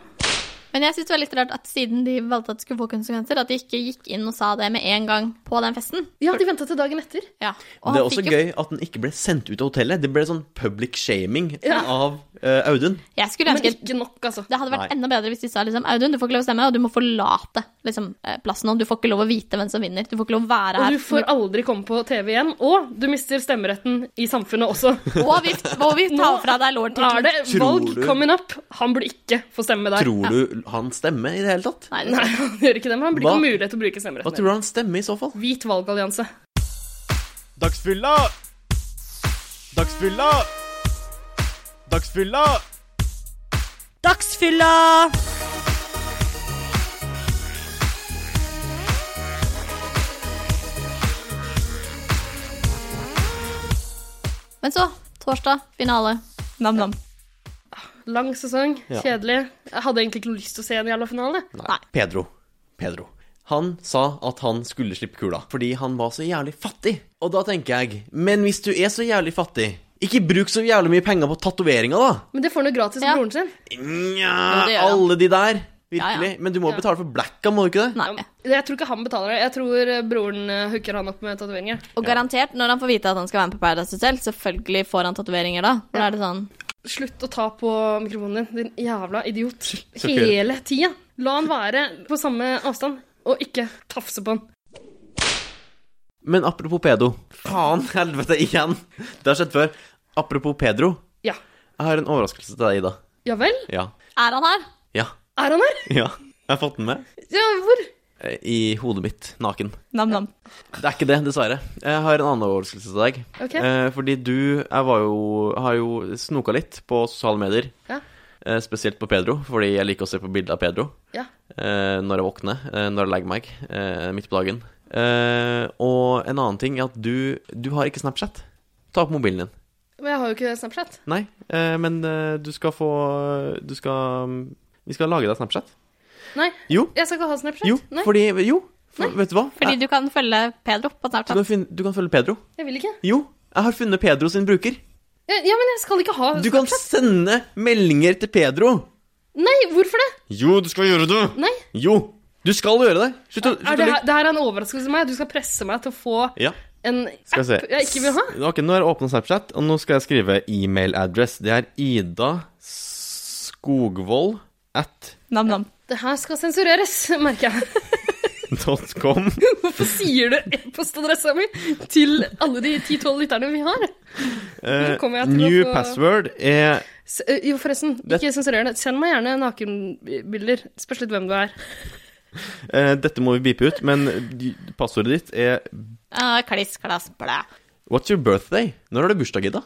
[SPEAKER 4] Men jeg syns det var litt rart at siden de valgte at det skulle få konsekvenser, at de ikke gikk inn og sa det med en gang på den festen.
[SPEAKER 2] ja, de venta til dagen etter.
[SPEAKER 4] Ja.
[SPEAKER 5] det er
[SPEAKER 4] han
[SPEAKER 5] også
[SPEAKER 4] fikk jo-
[SPEAKER 5] gøy at den ikke ble sendt ut av hotellet. Det ble sånn public shaming av eh, Audun.
[SPEAKER 4] Jeg skulle
[SPEAKER 2] Men
[SPEAKER 4] ønske
[SPEAKER 2] ikke nok, altså.
[SPEAKER 4] Det hadde vært
[SPEAKER 5] Nei.
[SPEAKER 4] enda bedre hvis de sa liksom, Audun, du får ikke lov å stemme, og du må forlate liksom, eh, plassen nå. Du får ikke lov å vite hvem som vinner. Du får ikke lov å være
[SPEAKER 2] Og
[SPEAKER 4] her.
[SPEAKER 2] du får aldri komme på TV igjen. Og du mister stemmeretten i samfunnet også.
[SPEAKER 4] Og vi, og vi tar fra deg
[SPEAKER 2] Er
[SPEAKER 4] lordtittelen.
[SPEAKER 5] Tror
[SPEAKER 2] det valg
[SPEAKER 5] du-
[SPEAKER 2] coming up? Han burde ikke få stemme der.
[SPEAKER 5] Tror du han stemmer i det hele tatt?
[SPEAKER 4] Nei, det-
[SPEAKER 2] Nei, han gjør ikke det, men han blir
[SPEAKER 5] Hva-
[SPEAKER 2] ikke mulighet til å bruke
[SPEAKER 5] Hva
[SPEAKER 2] stemmeretten.
[SPEAKER 5] tror du han stemmer i så fall?
[SPEAKER 2] Hvit valgallianse.
[SPEAKER 11] Dagsfylla! Dagsfylla! Dagsfylla!
[SPEAKER 3] Dagsfylla!
[SPEAKER 4] Men så, torsdag, finale. Nam-nam.
[SPEAKER 2] Lang sesong,
[SPEAKER 5] Ja.
[SPEAKER 2] kjedelig. Jeg hadde egentlig ikke lyst til å se en jævla finale.
[SPEAKER 4] Nei.
[SPEAKER 5] Pedro. Pedro. Han sa at han skulle slippe kula fordi han var så jævlig fattig. Og da tenker jeg, men hvis du er så jævlig fattig, Ikke bruk så jævlig mye penger på tatoveringer, da!
[SPEAKER 2] Men det får han jo gratis av
[SPEAKER 4] Ja.
[SPEAKER 2] broren sin.
[SPEAKER 5] Nja,
[SPEAKER 4] Jo, det gjør han.
[SPEAKER 5] alle de der. Virkelig.
[SPEAKER 4] Ja, ja.
[SPEAKER 5] Men du må jo betale for blacka, må du ikke det?
[SPEAKER 4] Nei.
[SPEAKER 2] Jeg tror ikke han betaler det. Jeg tror eh, broren eh, hooker han opp med tatoveringer.
[SPEAKER 4] Og garantert, når han får vite at han skal være med på Paradise Hotel, selvfølgelig får han tatoveringer da. For da er det sånn
[SPEAKER 2] Slutt å ta på mikrofonen din, din jævla idiot.
[SPEAKER 5] Sjokkerende.
[SPEAKER 2] Hele tida. La han være på samme avstand, og ikke tafse på han.
[SPEAKER 5] Men apropos pedo. Faen helvete igjen! Det har skjedd før. Apropos Pedro.
[SPEAKER 2] Ja.
[SPEAKER 5] Jeg har en overraskelse til deg, Ida.
[SPEAKER 2] Ja vel?
[SPEAKER 5] Ja.
[SPEAKER 4] Er han her?
[SPEAKER 5] Ja.
[SPEAKER 2] Er han her?
[SPEAKER 5] ja. Jeg har fått den med.
[SPEAKER 2] Ja, hvor?
[SPEAKER 5] Eh, I hodet mitt. Naken.
[SPEAKER 4] Nam-nam.
[SPEAKER 5] Det er ikke det, dessverre. Jeg har en annen overraskelse til deg.
[SPEAKER 2] Ok.
[SPEAKER 5] Eh, fordi du Jeg var jo, har jo snoka litt på sosiale medier.
[SPEAKER 2] Ja.
[SPEAKER 5] Eh, spesielt på Pedro, fordi jeg liker å se på bilder av Pedro.
[SPEAKER 2] Ja.
[SPEAKER 5] Eh, når jeg våkner, eh, når jeg legger meg, eh, midt på dagen. Eh, og en annen ting er at du, du har ikke Snapchat. Ta opp mobilen din.
[SPEAKER 2] Men jeg har jo ikke Snapchat.
[SPEAKER 5] Nei, eh, men eh, du skal få Du skal mm, Vi skal lage deg Snapchat.
[SPEAKER 2] Nei.
[SPEAKER 5] Jo.
[SPEAKER 2] Jeg skal ikke ha Snapchat.
[SPEAKER 5] Jo,
[SPEAKER 2] Nei,
[SPEAKER 5] fordi Jo, for,
[SPEAKER 2] Nei.
[SPEAKER 5] vet du hva?
[SPEAKER 4] Fordi
[SPEAKER 5] Eh,
[SPEAKER 4] du kan følge Pedro på
[SPEAKER 5] du,
[SPEAKER 4] Snapchat.
[SPEAKER 5] kan finne, du kan følge Pedro.
[SPEAKER 2] jeg vil ikke.
[SPEAKER 5] Jo, jeg har funnet Pedro sin bruker.
[SPEAKER 2] Ja, ja, men jeg skal ikke ha
[SPEAKER 5] Du kan sende meldinger til Pedro.
[SPEAKER 2] Nei, hvorfor det?
[SPEAKER 5] Jo, du skal gjøre det.
[SPEAKER 2] Nei.
[SPEAKER 5] Jo, du skal gjøre det. Slutt å
[SPEAKER 2] Er det, her, det her er en overraskelse for meg. Du skal presse meg til å få
[SPEAKER 5] Ja,
[SPEAKER 2] en
[SPEAKER 5] skal
[SPEAKER 2] app
[SPEAKER 5] vi se.
[SPEAKER 2] jeg ikke vil ha.
[SPEAKER 5] Ok, nå er det åpnet Snapchat, og nå skal jeg skrive e-mail address. Det er Ida Skogvold at
[SPEAKER 4] Nam-nam.
[SPEAKER 2] Det her skal sensureres, merker jeg.
[SPEAKER 5] dot com.
[SPEAKER 2] Hvorfor sier du e-postadressa mi til alle de 10-12 lytterne vi har?
[SPEAKER 5] Eh,
[SPEAKER 2] Nå kommer jeg til å
[SPEAKER 5] new
[SPEAKER 2] få-
[SPEAKER 5] password er
[SPEAKER 2] S eh, jo, forresten,
[SPEAKER 5] Det-
[SPEAKER 2] ikke sensurer det. Send meg gjerne nakenbilder. Spørs litt hvem du er.
[SPEAKER 5] eh, Dette må vi beepe ut, men passordet ditt er
[SPEAKER 4] Ah, kliss, klass, blæ.
[SPEAKER 5] What's your birthday? Når har du bursdag, Ida?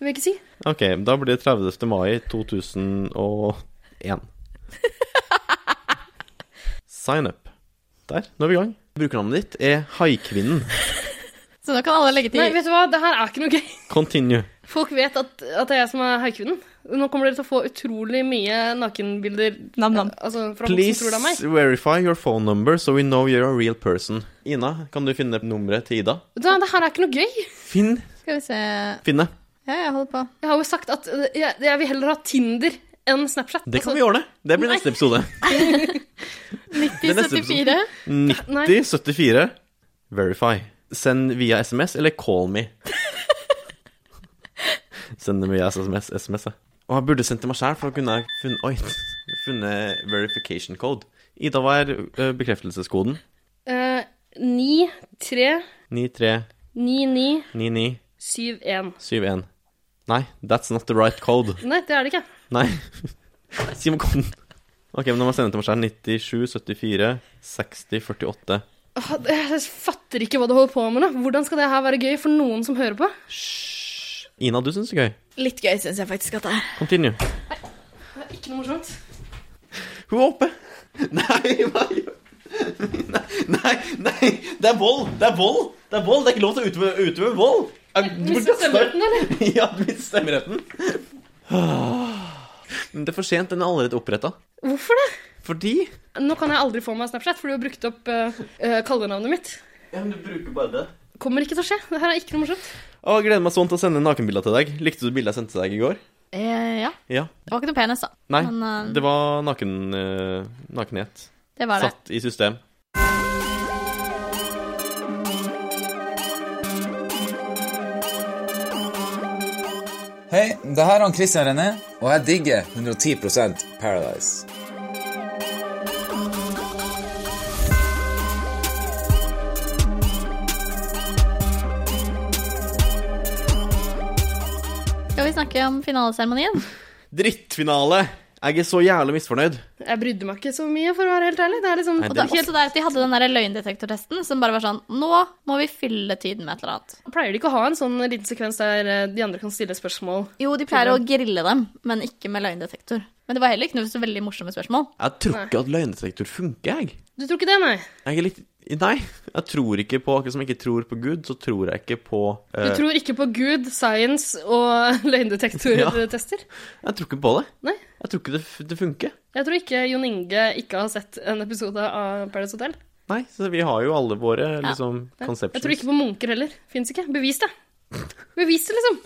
[SPEAKER 2] Jeg vil ikke si.
[SPEAKER 5] Ok, da blir det 30. mai 2001. Sign up. Der, nå er vi i gang. Brukernavnet ditt er Haikvinnen.
[SPEAKER 4] Så nå kan alle legge til
[SPEAKER 2] Nei, vet du hva, det her er ikke noe gøy.
[SPEAKER 5] Continue.
[SPEAKER 2] Folk vet at, at det er jeg som er haikvinnen. Nå kommer dere til å få utrolig mye nakenbilder
[SPEAKER 4] nam-nam.
[SPEAKER 2] altså, fra folk
[SPEAKER 5] Please
[SPEAKER 2] som tror det er meg.
[SPEAKER 5] verify your phone number so we know you're a real person. Ina, kan du finne nummeret til Ida?
[SPEAKER 2] Vet du hva, det her er ikke noe gøy.
[SPEAKER 5] Finn,
[SPEAKER 4] Skal vi se Ja,
[SPEAKER 5] finne.
[SPEAKER 4] jeg holder på.
[SPEAKER 2] Jeg har jo sagt at eh, jeg, jeg vil heller ha Tinder enn Snapchat. Altså,
[SPEAKER 5] Det kan vi ordne. Det blir
[SPEAKER 2] Nei.
[SPEAKER 5] neste episode. Det er neste
[SPEAKER 4] 1074.
[SPEAKER 5] 9074 verify. Send via SMS eller call me. Send det via SMS. SMS ja. Og jeg burde sendt det meg sjøl, for da kunne jeg funnet, oi, funnet verification code. Ida, hva er ø, bekreftelseskoden?
[SPEAKER 2] Eh, 9, 3,
[SPEAKER 5] 939971.
[SPEAKER 2] 9, 9, 7, 1.
[SPEAKER 5] Nei, that's not the right code.
[SPEAKER 2] Nei, det er det ikke.
[SPEAKER 5] Nei. Si meg koden. OK, men da må jeg sende det til meg sjøl. 9774 6048.
[SPEAKER 2] Åh, Jeg fatter ikke hva du holder på med nå. Hvordan skal det her være gøy for noen som hører på?
[SPEAKER 5] Ina, du syns det er gøy?
[SPEAKER 4] Litt gøy syns jeg faktisk at det er.
[SPEAKER 5] Continue.
[SPEAKER 2] Det er ikke noe morsomt.
[SPEAKER 5] Hun er oppe. Nei, hva gjør Nei, nei, det er vold! Det er vold! Det er vold, det er ikke lov til å utøve, utøve vold! Er- Du
[SPEAKER 2] Mistet stemmeretten, eller?
[SPEAKER 5] Ja, du mistet stemmeretten. Men det er for sent, den er allerede oppretta.
[SPEAKER 2] Hvorfor det?
[SPEAKER 5] Fordi
[SPEAKER 2] Nå kan jeg aldri få meg Snapchat, for du har brukt opp eh, eh, kallenavnet mitt.
[SPEAKER 5] Ja, men du bruker bare det.
[SPEAKER 2] Kommer ikke til å skje. Det her er ikke noe morsomt.
[SPEAKER 5] Å, jeg gleder meg sånn til å sende nakenbilder til deg. Likte du bildet jeg sendte til deg i går?
[SPEAKER 4] Eh, ja.
[SPEAKER 5] Ja.
[SPEAKER 4] Det var ikke noe penis, da.
[SPEAKER 5] Nei,
[SPEAKER 4] Men, eh,
[SPEAKER 5] det var naken, eh, nakenhet.
[SPEAKER 4] Det var det.
[SPEAKER 5] Satt i system.
[SPEAKER 12] Hei, det her er han Christian René, og jeg digger 110 Paradise.
[SPEAKER 4] Skal vi snakke om finaleseremonien?
[SPEAKER 5] Drittfinale! Jeg er så jævlig misfornøyd.
[SPEAKER 2] Jeg brydde meg ikke så mye, for å være helt ærlig. Det er liksom
[SPEAKER 5] Nei,
[SPEAKER 4] Og
[SPEAKER 5] det-
[SPEAKER 4] da, også der at de hadde den der løgndetektortesten som bare var sånn Nå må vi fylle tiden med et eller annet.
[SPEAKER 2] Pleier de ikke å ha en sånn liten sekvens der eh, de andre kan stille spørsmål?
[SPEAKER 4] Jo, de pleier å grille dem, men ikke med løgndetektor. Men det var heller ikke noe så veldig morsomme spørsmål.
[SPEAKER 5] Jeg tror ikke at løgndetektor funker, jeg.
[SPEAKER 2] Du tror ikke det, nei?
[SPEAKER 5] Jeg er litt Nei. Jeg tror ikke på Akkurat som jeg ikke tror på Gud, så tror jeg ikke på
[SPEAKER 2] Du
[SPEAKER 5] eh,
[SPEAKER 2] tror ikke på Gud, science og løgndetektortester?
[SPEAKER 5] Jeg tror ikke på det.
[SPEAKER 2] Nei.
[SPEAKER 5] Jeg tror ikke det, f- det funker.
[SPEAKER 2] Jeg tror ikke Jon Inge ikke har sett en episode av Paradise Hotel.
[SPEAKER 5] Nei, så vi har jo alle våre liksom
[SPEAKER 2] Nei.
[SPEAKER 5] conceptions.
[SPEAKER 2] Jeg tror ikke på munker heller. Fins ikke. Bevis det. Bevis det, liksom.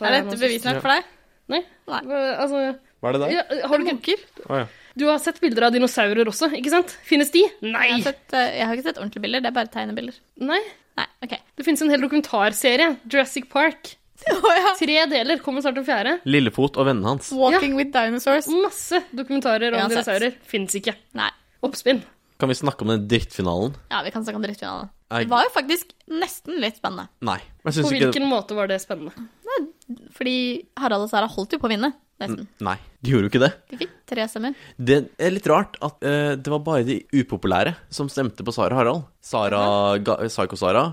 [SPEAKER 2] Så
[SPEAKER 4] Er dette bevis nok for deg?
[SPEAKER 2] Nei. Hva- Altså,
[SPEAKER 5] Hva er det der?
[SPEAKER 2] ja, har du ikke
[SPEAKER 5] Å, ja.
[SPEAKER 2] Du har sett bilder av dinosaurer også, ikke sant? Finnes de? Nei!
[SPEAKER 4] Jeg har, sett, eh, jeg har ikke sett ordentlige bilder, det er bare tegnebilder.
[SPEAKER 2] Nei.
[SPEAKER 4] Nei, ok.
[SPEAKER 2] Det finnes en hel dokumentarserie, Jurassic Park. Tre deler, kommer snart en fjerde.
[SPEAKER 5] Lillefot og vennene hans.
[SPEAKER 4] Walking with dinosaurs.
[SPEAKER 2] Masse dokumentarer om
[SPEAKER 4] Uansett.
[SPEAKER 2] dinosaurer. Fins ikke.
[SPEAKER 4] Nei.
[SPEAKER 2] Oppspinn.
[SPEAKER 5] Kan vi snakke om den drittfinalen?
[SPEAKER 4] Ja, vi kan snakke om drittfinalen.
[SPEAKER 5] Jeg-
[SPEAKER 4] Det var jo faktisk nesten litt spennende.
[SPEAKER 5] Nei. Jeg
[SPEAKER 2] På
[SPEAKER 5] syns ikke
[SPEAKER 2] hvilken måte var det spennende?
[SPEAKER 4] Fordi Harald og Sara holdt jo på å vinne, nesten.
[SPEAKER 5] Nei, de gjorde jo ikke det.
[SPEAKER 4] De fikk tre stemmer.
[SPEAKER 5] Det er litt rart at eh, det var bare de upopulære som stemte på Sara Harald. Sara, Ga- Psycho-Sara,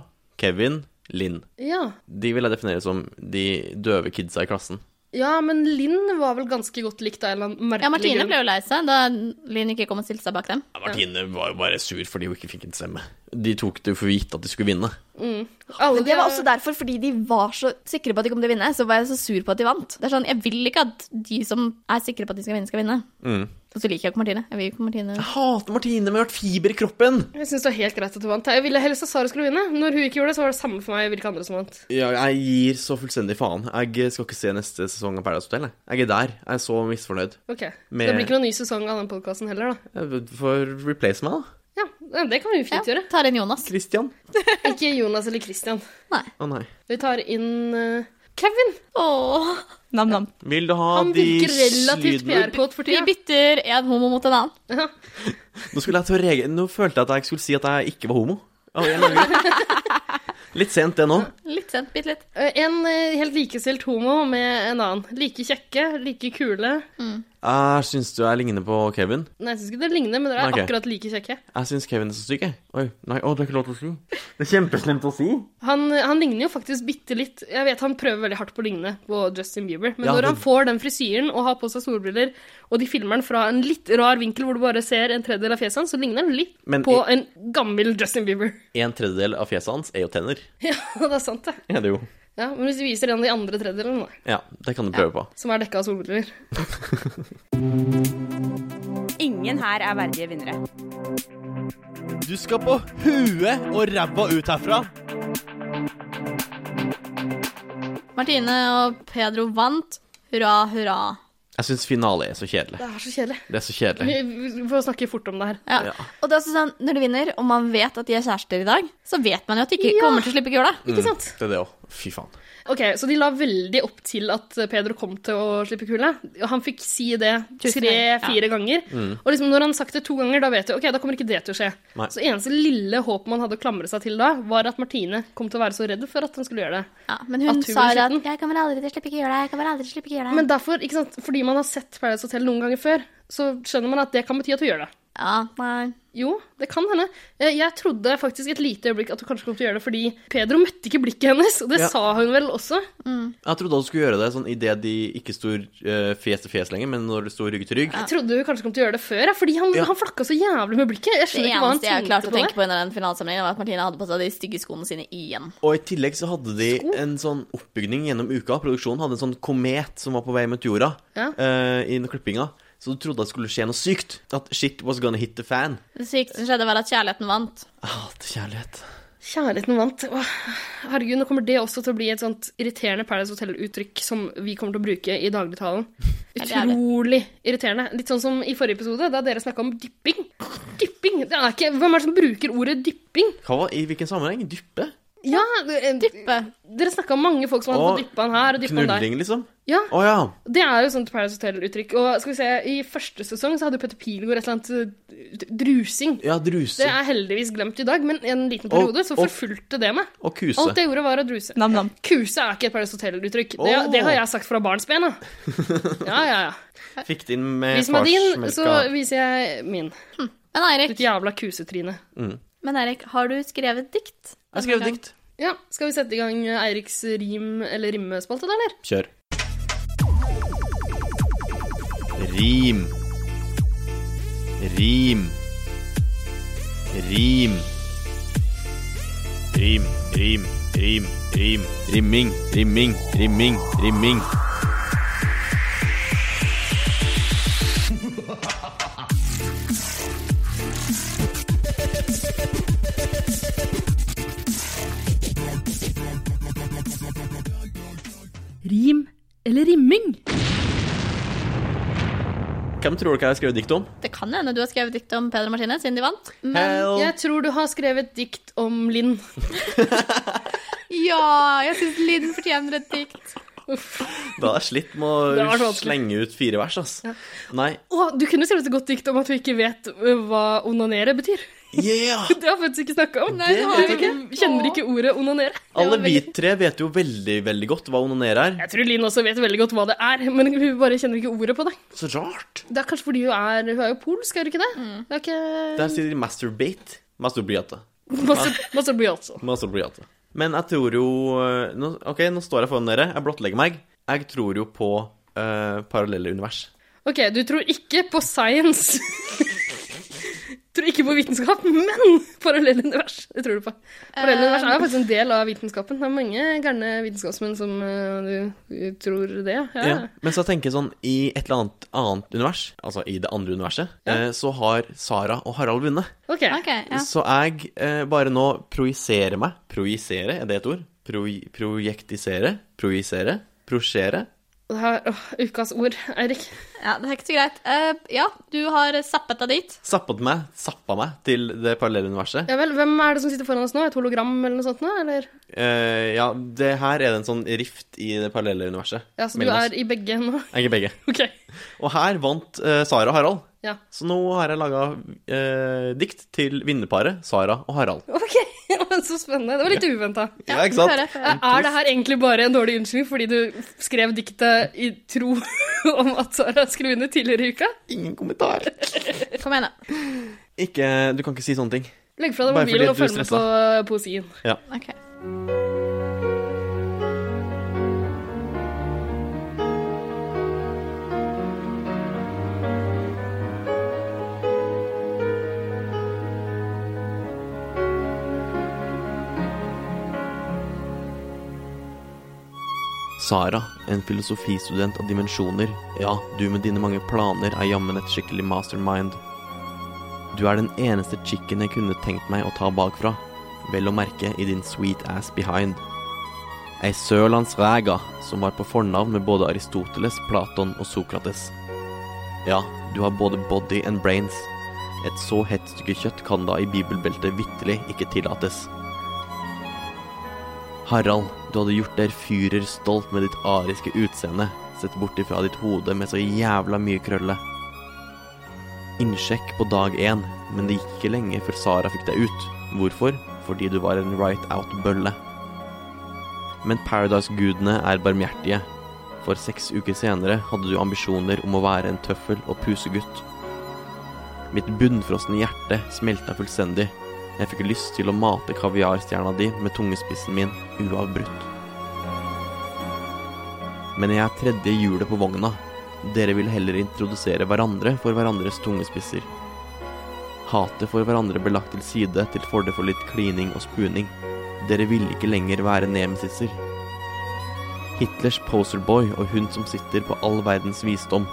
[SPEAKER 5] Kevin, Linn.
[SPEAKER 2] Ja.
[SPEAKER 5] De vil jeg definere som de døve kidsa i klassen.
[SPEAKER 2] ja, men Linn var vel ganske godt likt av en eller annen merkelig
[SPEAKER 4] Ja, Martine
[SPEAKER 2] grunn.
[SPEAKER 4] ble jo lei seg da Linn ikke kom og stilte seg bak dem.
[SPEAKER 5] Ja, Martine var jo bare sur fordi hun ikke fikk en stemme. De tok det jo for gitt at de skulle vinne.
[SPEAKER 2] Alle
[SPEAKER 4] Men det var også derfor, fordi de var så sikre på at de kom til å vinne, så var jeg så sur på at de vant. Det er sånn, Jeg vil ikke at de som er sikre på at de skal vinne, skal vinne. Og så liker jeg ikke Martine. Jeg vil ikke Martine.
[SPEAKER 5] Jeg hater Martine med hvert fiber i kroppen!
[SPEAKER 2] Jeg syns det var helt greit at du vant. Jeg ville helst at Sara skulle vinne. Når hun ikke gjorde det, så var det samme for meg hvilke andre som vant.
[SPEAKER 5] Ja, jeg gir så fullstendig faen. Jeg skal ikke se neste sesong av Paradise Hotel. Jeg, jeg er der. Jeg er så misfornøyd.
[SPEAKER 2] Ok,
[SPEAKER 5] Med-
[SPEAKER 2] Det blir ikke noen ny sesong av den podkasten heller, da.
[SPEAKER 5] Jeg får replace meg, da.
[SPEAKER 2] Ja, Det kan vi jo
[SPEAKER 4] Ja,
[SPEAKER 2] fint gjøre.
[SPEAKER 4] tar inn Jonas.
[SPEAKER 5] Christian.
[SPEAKER 2] Ikke Jonas eller Christian.
[SPEAKER 5] Å nei.
[SPEAKER 2] Vi tar inn eh, Kevin.
[SPEAKER 4] Åh. Nam-nam.
[SPEAKER 5] Vil du ha
[SPEAKER 2] Han
[SPEAKER 5] de
[SPEAKER 2] virker relativt
[SPEAKER 5] syden-
[SPEAKER 2] PR-kåt for
[SPEAKER 4] Vi
[SPEAKER 2] tida.
[SPEAKER 4] bytter en homo mot en annen.
[SPEAKER 5] Nå, skulle jeg til å rege... nå følte jeg at jeg skulle si at jeg ikke var homo. Å, jeg lager- Litt sent, det nå.
[SPEAKER 4] Litt sent, bitte litt.
[SPEAKER 2] Eh, En eh, helt likestilt homo med en annen. Like kjekke, like kule.
[SPEAKER 5] Jeg syns du jeg ligner på Kevin.
[SPEAKER 2] Nei, jeg syns ikke det ligner, men dere er
[SPEAKER 5] Ok.
[SPEAKER 2] akkurat like kjekke.
[SPEAKER 5] Jeg syns Kevin er så syk, jeg. Oi. Nei, å, det er ikke lov til å si. Det er kjempeslemt å si.
[SPEAKER 2] Han, han ligner jo faktisk bitte litt. Jeg vet han prøver veldig hardt på å ligne på Justin Bieber, men
[SPEAKER 5] Ja,
[SPEAKER 2] når
[SPEAKER 5] det-
[SPEAKER 2] han får den frisyren og har på seg solbriller, og de filmer han fra en litt rar vinkel hvor du bare ser en tredjedel av fjeset hans, så ligner han litt
[SPEAKER 5] Men
[SPEAKER 2] på
[SPEAKER 5] i-
[SPEAKER 2] en gammel Justin Bieber.
[SPEAKER 5] En tredjedel av fjeset hans er jo tenner.
[SPEAKER 2] ja, det er sant, det.
[SPEAKER 5] Ja, det er jo.
[SPEAKER 2] Ja, men hvis vi viser en av de andre tredjedelene, da,
[SPEAKER 5] Ja, det kan du prøve på.
[SPEAKER 2] som er dekka av solbriller
[SPEAKER 3] Ingen her er verdige vinnere.
[SPEAKER 5] Du skal på huet og ræva ut herfra.
[SPEAKER 4] Martine og Pedro vant. Hurra, hurra.
[SPEAKER 5] Jeg syns finale er så kjedelig.
[SPEAKER 2] Det er så kjedelig.
[SPEAKER 5] Det er så
[SPEAKER 2] Vi,
[SPEAKER 5] kjedelig.
[SPEAKER 2] vi får snakke fort om det her.
[SPEAKER 4] Ja.
[SPEAKER 5] Ja.
[SPEAKER 4] Og det er også sånn, når du vinner, og man vet at de er kjærester i dag, så vet man jo at de ikke
[SPEAKER 2] Ja.
[SPEAKER 4] kommer til å slippe kula.
[SPEAKER 2] Ikke sant?
[SPEAKER 5] Mm. Det er det òg. Fy faen.
[SPEAKER 2] Ok, Så de la veldig opp til at Pedro kom til å slippe kule. Han fikk si det
[SPEAKER 4] Tusen ganger,
[SPEAKER 2] tre-fire ganger. Og liksom når han sagt det to ganger, da vet du ok, da kommer ikke det til å skje.
[SPEAKER 5] Mm. Nei.
[SPEAKER 2] Så eneste lille håp man hadde å klamre seg til da, var at Martine kom til å være så redd for at han skulle gjøre det.
[SPEAKER 4] Ja, men
[SPEAKER 2] At
[SPEAKER 4] hun
[SPEAKER 2] hun
[SPEAKER 4] sa
[SPEAKER 2] vil
[SPEAKER 4] jo at
[SPEAKER 2] slippe den.
[SPEAKER 4] 'jeg kommer aldri til å slippe kula', 'jeg kommer aldri til å slippe kula'.
[SPEAKER 2] Men derfor, ikke sant, fordi man har sett Paradise Hotel noen ganger før, så skjønner man at det kan bety at hun gjør det.
[SPEAKER 4] Ja, nei.
[SPEAKER 2] Jo, det kan hende. Eh, Jeg trodde faktisk et lite øyeblikk at hun kanskje kom til å gjøre det, fordi Pedro møtte ikke blikket hennes, og det
[SPEAKER 5] Ja.
[SPEAKER 2] sa hun vel også.
[SPEAKER 5] Jeg trodde han skulle gjøre det sånn idet de ikke sto eh, fjes til fjes lenger, men når det sto rygg til rygg.
[SPEAKER 2] Jeg trodde hun kanskje kom til å gjøre det før, ja, fordi han,
[SPEAKER 5] Ja.
[SPEAKER 2] han flakka så jævlig med blikket. Jeg
[SPEAKER 4] Det
[SPEAKER 2] skjønner ikke hva han
[SPEAKER 4] eneste jeg klarte
[SPEAKER 2] tenkte
[SPEAKER 4] å
[SPEAKER 2] på
[SPEAKER 4] tenke
[SPEAKER 2] det.
[SPEAKER 4] på under den finalesamlingen, var at Martine hadde på seg de stygge skoene sine igjen.
[SPEAKER 5] Og i tillegg så hadde de en sånn oppbygning gjennom uka. Produksjonen hadde en sånn komet som var på vei mot jorda
[SPEAKER 2] Ja.
[SPEAKER 5] eh, i den klippinga. Så du trodde at det skulle skje noe sykt. At shit was gonna hit the fan.
[SPEAKER 4] Det sykeste som skjedde, var at kjærligheten vant.
[SPEAKER 5] Jeg hater kjærlighet.
[SPEAKER 2] Kjærligheten vant. Åh, herregud, nå kommer det også til å bli et sånt irriterende Paradise Hotel-uttrykk som vi kommer til å bruke i dagligtalen.
[SPEAKER 4] Helt jævlig.
[SPEAKER 2] Utrolig irriterende. Litt sånn som i forrige episode, da dere snakka om dypping. Dypping! Det er ikke, hvem er det som bruker ordet dypping?
[SPEAKER 5] Hva var, I hvilken sammenheng? Dyppe?
[SPEAKER 2] Ja, dyppe. Dere snakka om mange folk som hadde
[SPEAKER 5] Åh,
[SPEAKER 2] fått dyppa han her og dyppa han der.
[SPEAKER 5] Knulling, liksom?
[SPEAKER 2] Ja,
[SPEAKER 5] Å ja.
[SPEAKER 2] Det er jo et sånt Paradise Hotel-uttrykk. Og skal vi se, i første sesong så hadde jo Petter Pilgaard et eller annet eh, drusing.
[SPEAKER 5] Ja,
[SPEAKER 2] Det
[SPEAKER 5] druse.
[SPEAKER 2] er heldigvis glemt i dag, men en liten periode så
[SPEAKER 5] og-
[SPEAKER 2] forfulgte det meg.
[SPEAKER 5] Og kuse.
[SPEAKER 2] Alt jeg gjorde, var å druse. Kuse er ikke et Paradise Hotel-uttrykk. Det,
[SPEAKER 5] Åh.
[SPEAKER 2] det har jeg sagt fra barnsben av. Ja, ja, ja.
[SPEAKER 5] Fikk det inn med
[SPEAKER 2] Vis meg din,
[SPEAKER 5] farsmelka.
[SPEAKER 2] så viser jeg min.
[SPEAKER 4] Men Eirik,
[SPEAKER 2] Ditt jævla kusetryne.
[SPEAKER 4] men Eirik, har du skrevet dikt?
[SPEAKER 5] Jeg skrev dikt.
[SPEAKER 2] Ja, skal vi sette i gang Eiriks rim- eller rimmespalte, da, eller?
[SPEAKER 5] Kjør. Rim. Rim. Rim. Rim, rim, rim, rim. Rimming, rimming, rimming, rimming.
[SPEAKER 7] Rim eller rimming?
[SPEAKER 5] Hvem tror dere jeg har skrevet dikt om?
[SPEAKER 4] Det kan hende du har skrevet dikt om Peder og Martine siden de vant.
[SPEAKER 5] Hell.
[SPEAKER 2] Jeg tror du har skrevet dikt om Linn.
[SPEAKER 4] Ja, jeg syns Linn fortjener et dikt.
[SPEAKER 5] Da hadde jeg slitt med
[SPEAKER 2] Det var så
[SPEAKER 5] å
[SPEAKER 2] vanskelig.
[SPEAKER 5] slenge ut fire vers, ass. Nei.
[SPEAKER 2] Å, du kunne skrevet et godt dikt om at du ikke vet ø, hva onanere betyr.
[SPEAKER 5] Yeah!
[SPEAKER 2] Det har vi faktisk ikke snakka om.
[SPEAKER 5] Det har vi
[SPEAKER 2] ikke. Kjenner ikke ordet onanere.
[SPEAKER 5] Alle vi tre vet jo veldig, veldig godt hva onanere er.
[SPEAKER 2] Jeg tror Linn også vet veldig godt hva det er, men hun bare kjenner ikke ordet på det.
[SPEAKER 5] Så rart.
[SPEAKER 2] Det er kanskje fordi hun er, hun er jo polsk, er hun ikke det? Det er ikke
[SPEAKER 5] Der sier de masturbate. Masturbiate.
[SPEAKER 2] masse, masse bly, altså.
[SPEAKER 5] Masturbiate. Men jeg tror jo eh, nå, OK, nå står jeg foran dere. Jeg blottlegger meg. Jeg tror jo på eh, parallelle univers.
[SPEAKER 2] Ok, du tror ikke på science. tror ikke på vitenskap, men parallelle univers. Det tror du på. Parallelle
[SPEAKER 4] Eh,
[SPEAKER 2] univers er jo faktisk en del av vitenskapen. Det er mange gærne vitenskapsmenn som eh, du, du tror det. Ja.
[SPEAKER 5] Ja. Men så tenker jeg sånn, i et eller annet annet univers, altså i det andre universet, eh, så har Sara og Harald vunnet.
[SPEAKER 2] Ok.
[SPEAKER 4] Ok, ja.
[SPEAKER 5] Så jeg eh, bare nå projiserer meg. Projisere, er det et ord? Proj projektisere? Projisere? Prosjere?
[SPEAKER 2] Det her, åh, ukas ord, Eirik.
[SPEAKER 4] ja, det er ikke så greit. Eh, ja, du har zappet deg dit.
[SPEAKER 5] Zappet meg, zappa meg til det parallelle universet.
[SPEAKER 2] Ja vel, hvem er det som sitter foran oss nå? Et hologram eller noe sånt? nå, Eller?
[SPEAKER 5] Eh, ja, det her er det en sånn rift i det parallelle universet.
[SPEAKER 2] Ja, så du
[SPEAKER 5] mellom oss.
[SPEAKER 2] er i begge nå?
[SPEAKER 5] Jeg er begge.
[SPEAKER 2] Ok.
[SPEAKER 5] Og her vant eh, Sara og Harald.
[SPEAKER 2] Ja.
[SPEAKER 5] Så nå har jeg laga dikt til vinnerparet Sara og Harald.
[SPEAKER 2] Ok, Så spennende. Det var litt uventa.
[SPEAKER 5] Ja, ikke
[SPEAKER 4] vi får
[SPEAKER 5] sant?
[SPEAKER 4] høre.
[SPEAKER 2] Er er det her egentlig bare en dårlig unnskyldning fordi du skrev diktet i tro om at Sara skulle vinne tidligere i uka?
[SPEAKER 5] Ingen kommentar.
[SPEAKER 4] Eh, Kom igjen, da.
[SPEAKER 5] Ikke, du kan ikke si sånne ting.
[SPEAKER 2] Legg fra deg
[SPEAKER 5] Bare fordi
[SPEAKER 2] mobilen og
[SPEAKER 5] du
[SPEAKER 2] følg med på poesien.
[SPEAKER 4] Ok.
[SPEAKER 5] Sara, en filosofistudent av dimensjoner. Ja, du med dine mange planer er jammen et skikkelig mastermind. Du er den eneste chicken jeg kunne tenkt meg å ta bakfra. Vel å merke i din sweet ass behind. Ei sørlandsræga som var på fornavn med både Aristoteles, Platon og Sokrates. Ja, du har både body and brains. Et så hett stykke kjøtt kan da i bibelbeltet vitterlig ikke tillates. Harald, du hadde gjort der fyrer stolt med ditt ariske utseende, sett bort ifra ditt hode med så jævla mye krølle. Innsjekk på dag én, men det gikk ikke lenge før Sara fikk deg ut. Hvorfor? Fordi du var en right out-bølle. Men Paradise-gudene er barmhjertige. For seks uker senere hadde du ambisjoner om å være en tøffel og pusegutt. Mitt bunnfrosne hjerte smelta fullstendig. Jeg fikk lyst til å mate kaviarstjerna di med tungespissen min uavbrutt. Men jeg er tredje hjulet på vogna. Dere vil heller introdusere hverandre for hverandres tungespisser. Hatet for hverandre ble lagt til side til fordel for litt klining og spuning. Dere ville ikke lenger være nemesisser. Hitlers poserboy og hun som sitter på all verdens visdom.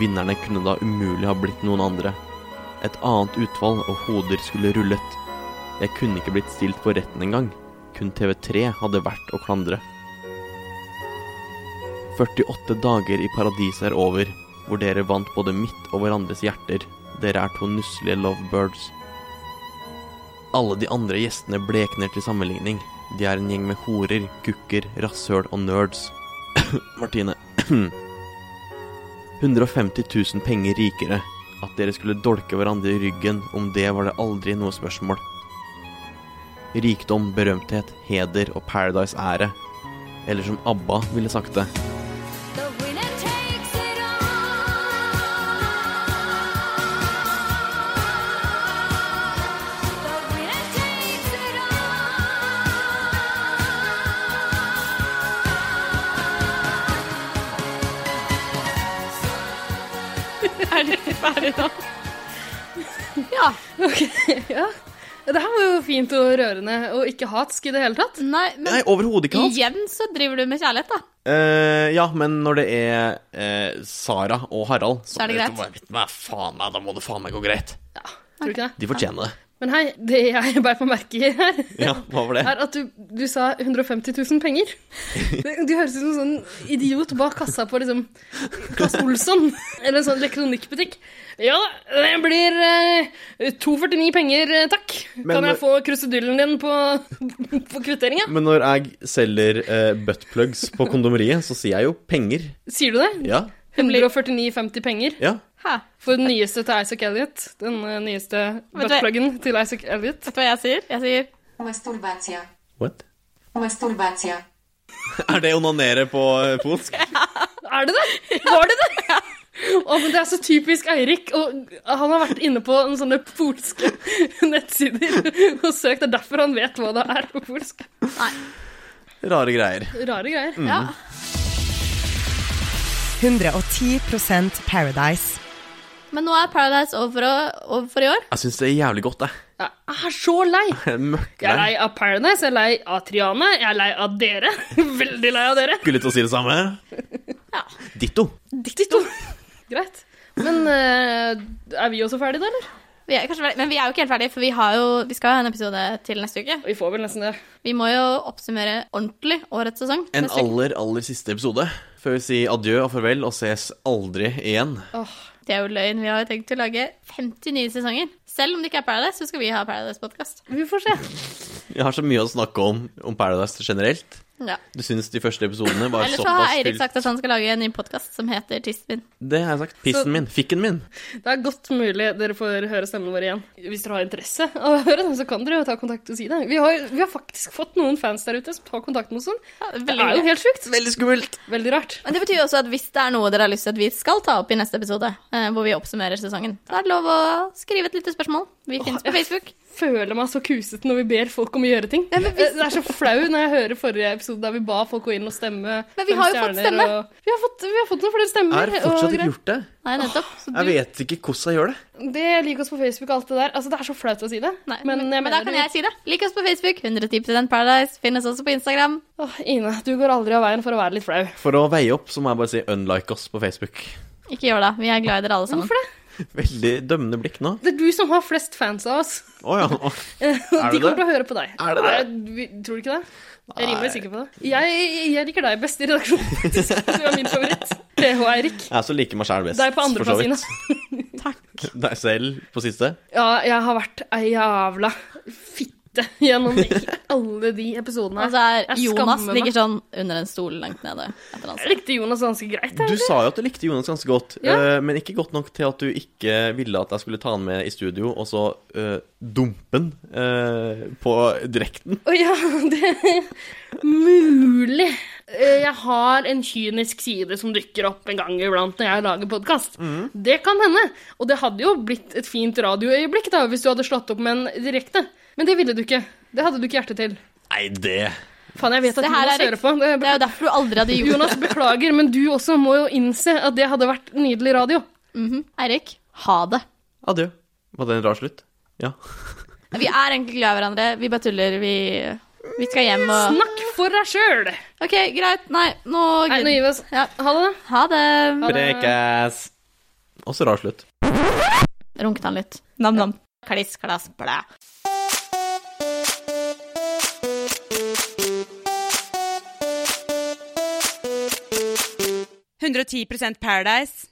[SPEAKER 5] Vinnerne kunne da umulig ha blitt noen andre. Et annet utfall og hoder skulle rullet. Jeg kunne ikke blitt stilt for retten engang. Kun TV3 hadde vært å klandre. 48 dager i paradiset er over, hvor dere vant både mitt og hverandres hjerter. Dere er to nusselige lovebirds. Alle de andre gjestene blekner til sammenligning. De er en gjeng med horer, kukker, rasshøl og nerds. Martine. 150 000 penger rikere. At dere skulle dolke hverandre i ryggen, om det var det aldri noe spørsmål. Rikdom, berømthet, heder og Paradise-ære. Eller som ABBA ville sagt det.
[SPEAKER 4] Er du ikke ferdig nå? Ja.
[SPEAKER 2] Ja. Det her var jo fint og rørende, og ikke hatsk i det hele tatt.
[SPEAKER 4] Nei, men
[SPEAKER 5] Nei, overhodet ikke hans.
[SPEAKER 4] igjen så driver du med kjærlighet, da.
[SPEAKER 5] Eh, ja, men når det er eh, Sara og Harald
[SPEAKER 4] Så er det greit.
[SPEAKER 5] Hva faen meg, da må det faen meg gå greit.
[SPEAKER 2] Tror du ikke det?
[SPEAKER 5] De fortjener det.
[SPEAKER 2] Men hei, det jeg beit meg merke i her,
[SPEAKER 5] Ja, hva var det?
[SPEAKER 2] er at du, du sa 150 000 penger. Det, du høres ut som en sånn idiot bak kassa på liksom Claes Olsson, eller en sånn elektronikkbutikk. Ja, det blir eh, 249 penger, eh, takk.
[SPEAKER 5] Men
[SPEAKER 2] kan
[SPEAKER 5] når-
[SPEAKER 2] jeg få krusedullen din på, på kvitteringa?
[SPEAKER 5] Men når jeg selger eh, buttplugs på kondomeriet, så sier jeg jo penger.
[SPEAKER 2] Sier du det?
[SPEAKER 5] Ja.
[SPEAKER 2] 149,50 penger
[SPEAKER 5] Ja.
[SPEAKER 2] for den nyeste til Isaac Elliot. Den eh, nyeste
[SPEAKER 4] Vet du hva-
[SPEAKER 2] buttpluggen til Isaac Elliot.
[SPEAKER 4] Vet du hva jeg sier? Jeg sier
[SPEAKER 13] Masturbacja.
[SPEAKER 5] What?
[SPEAKER 13] Masturbacja.
[SPEAKER 5] Er det onanere på eh, polsk?
[SPEAKER 2] Er det det? Var det det? Å, men det er så typisk Eirik. Og han har vært inne på en sånne polske nettsider og søkt. Det er derfor han vet hva det er på polsk.
[SPEAKER 5] Rare greier.
[SPEAKER 2] Rare greier.
[SPEAKER 5] Mm. Ja.
[SPEAKER 6] 110 Paradise.
[SPEAKER 4] Men nå er Paradise over, og, over for i år.
[SPEAKER 5] Jeg syns det er jævlig godt, jeg.
[SPEAKER 2] Jeg er så lei.
[SPEAKER 5] Jeg er møkk
[SPEAKER 2] Jeg er
[SPEAKER 5] lei.
[SPEAKER 2] lei av Paradise, jeg er lei av Triane, jeg er lei av dere. Veldig lei av dere.
[SPEAKER 5] Skulle til å si det samme. Ditto.
[SPEAKER 2] Ditto. Greit. Men eh, er vi også ferdige, da, eller?
[SPEAKER 4] Vi er kanskje ferdig- men vi er jo ikke helt ferdige, for vi, har jo, vi skal ha en episode til neste uke.
[SPEAKER 2] Vi får vel nesten det.
[SPEAKER 4] Vi må jo oppsummere ordentlig årets sesong.
[SPEAKER 5] En
[SPEAKER 4] neste uke.
[SPEAKER 5] aller, aller siste episode før vi sier adjø og farvel og ses aldri igjen.
[SPEAKER 4] Det er jo løgn. Vi har jo tenkt å lage 50 nye sesonger. Selv om det ikke er Paradise, så skal vi ha Paradise-podkast.
[SPEAKER 2] Vi får se.
[SPEAKER 5] Jeg har så mye å snakke om om Paradise generelt.
[SPEAKER 4] Ja.
[SPEAKER 5] Du syns de første episodene var
[SPEAKER 4] Eller så har
[SPEAKER 5] såpass
[SPEAKER 4] Eirik
[SPEAKER 5] fylt
[SPEAKER 4] sagt at han skal lage en ny podkast som heter Tissen min.
[SPEAKER 5] Det har jeg sagt.
[SPEAKER 2] Så-
[SPEAKER 5] Pissen min. Fikken min.
[SPEAKER 2] Det er godt mulig dere får høre stemmen vår igjen. Hvis dere har interesse av å høre den, så kan dere jo ta kontakt og si det. Vi har, vi har faktisk fått noen fans der ute som tar kontakt med oss sånn. Det er
[SPEAKER 4] veldig
[SPEAKER 2] jo
[SPEAKER 4] hyggelig.
[SPEAKER 2] helt sjukt.
[SPEAKER 5] Veldig skummelt.
[SPEAKER 2] Veldig rart.
[SPEAKER 4] Men det betyr jo også at hvis det er noe dere har lyst til at vi skal ta opp i neste episode, eh, hvor vi oppsummerer sesongen, så er det lov å skrive et lite spørsmål. Vi finnes på Facebook.
[SPEAKER 2] Føler meg så kusete når vi ber folk om å gjøre ting. Det er så flau når jeg hører forrige episode der vi ba folk gå inn og stemme.
[SPEAKER 4] Men vi
[SPEAKER 2] fem
[SPEAKER 4] har jo fått
[SPEAKER 2] stjerner,
[SPEAKER 4] stemme.
[SPEAKER 2] Og... Vi, har fått, vi har fått noen flere
[SPEAKER 5] Jeg
[SPEAKER 2] stemmer.
[SPEAKER 5] har fortsatt
[SPEAKER 2] og
[SPEAKER 5] ikke
[SPEAKER 2] greier.
[SPEAKER 5] gjort det.
[SPEAKER 4] Nei, nettopp. Så
[SPEAKER 5] Jeg
[SPEAKER 4] du,
[SPEAKER 5] vet ikke hvordan jeg gjør det.
[SPEAKER 2] Det liker oss på Facebook og alt det der. Altså, det er så flaut å si det.
[SPEAKER 4] nei,
[SPEAKER 2] Men
[SPEAKER 4] men,
[SPEAKER 2] jeg
[SPEAKER 4] men da
[SPEAKER 2] mener
[SPEAKER 4] kan
[SPEAKER 2] det.
[SPEAKER 4] jeg si det. Lik oss på Facebook. 110 Paradise. Finn oss også på Instagram.
[SPEAKER 2] Åh, Ine, du går aldri av veien for å være litt flau.
[SPEAKER 5] For å veie opp, så må jeg bare si unlike oss på Facebook.
[SPEAKER 4] Ikke gjør det. Vi er glad i dere alle sammen.
[SPEAKER 2] Hvorfor det?
[SPEAKER 5] Veldig dømmende blikk nå.
[SPEAKER 2] Det er du som har flest fans av oss.
[SPEAKER 5] Å ja. å.
[SPEAKER 2] Eh,
[SPEAKER 5] Er
[SPEAKER 2] De
[SPEAKER 5] det
[SPEAKER 2] kommer
[SPEAKER 5] det?
[SPEAKER 2] til å høre på deg.
[SPEAKER 5] Er det det?
[SPEAKER 2] Nei, vi- tror du ikke det? Jeg er rimelig sikker på det. Jeg, jeg liker deg best i redaksjonen, faktisk. Du er min favoritt. PH Eirik.
[SPEAKER 5] Jeg som liker meg sjæl best.
[SPEAKER 2] Deg på
[SPEAKER 5] for så
[SPEAKER 2] andreplass,
[SPEAKER 5] vidt.
[SPEAKER 2] Ine.
[SPEAKER 5] Deg selv på siste.
[SPEAKER 2] Ja, jeg har vært ei jævla fitte gjennom alle de episodene. her.
[SPEAKER 4] Og så Altså, er
[SPEAKER 2] Jeg
[SPEAKER 4] Jonas
[SPEAKER 2] skammer meg.
[SPEAKER 4] ligger sånn under en stol langt nede. Et eller annet
[SPEAKER 2] Jeg
[SPEAKER 4] sted.
[SPEAKER 2] likte Jonas ganske greit. jeg.
[SPEAKER 5] Du sa jo at du likte Jonas ganske godt,
[SPEAKER 2] Ja.
[SPEAKER 5] eh, men ikke godt nok til at du ikke ville at jeg skulle ta han med i studio, og så eh, dumpe han eh, på direkten.
[SPEAKER 2] Å ja, det Mulig. Eh, Jeg har en kynisk side som dukker opp en gang iblant når jeg lager podkast.
[SPEAKER 5] Mhm.
[SPEAKER 2] Det kan hende. Og det hadde jo blitt et fint radioøyeblikk da, hvis du hadde slått opp med en direkte. Men det ville du ikke. Det hadde du ikke hjerte til.
[SPEAKER 5] Nei, det
[SPEAKER 2] Faen, jeg vet at
[SPEAKER 4] Det her
[SPEAKER 2] Jonas
[SPEAKER 4] er
[SPEAKER 2] hører på. Det
[SPEAKER 4] Det er jo derfor du aldri hadde gjort
[SPEAKER 2] Jonas, beklager, men du også må jo innse at det hadde vært nydelig radio.
[SPEAKER 4] det. Mhm. Eirik, ha det.
[SPEAKER 5] Adjø. Var det en rar slutt? Ja.
[SPEAKER 4] Vi er egentlig glad i hverandre. Vi bare tuller. Vi, vi skal hjem og
[SPEAKER 2] Snakk for deg sjøl!
[SPEAKER 4] OK, greit. Nei, nå
[SPEAKER 2] Nei, nå gir vi oss.
[SPEAKER 4] Ja.
[SPEAKER 2] Ha det, da.
[SPEAKER 4] Ha det.
[SPEAKER 5] Prekes. Også rar slutt.
[SPEAKER 4] Runket han litt. Nam-nam. Kliss, klass, blæ.
[SPEAKER 3] Paradise.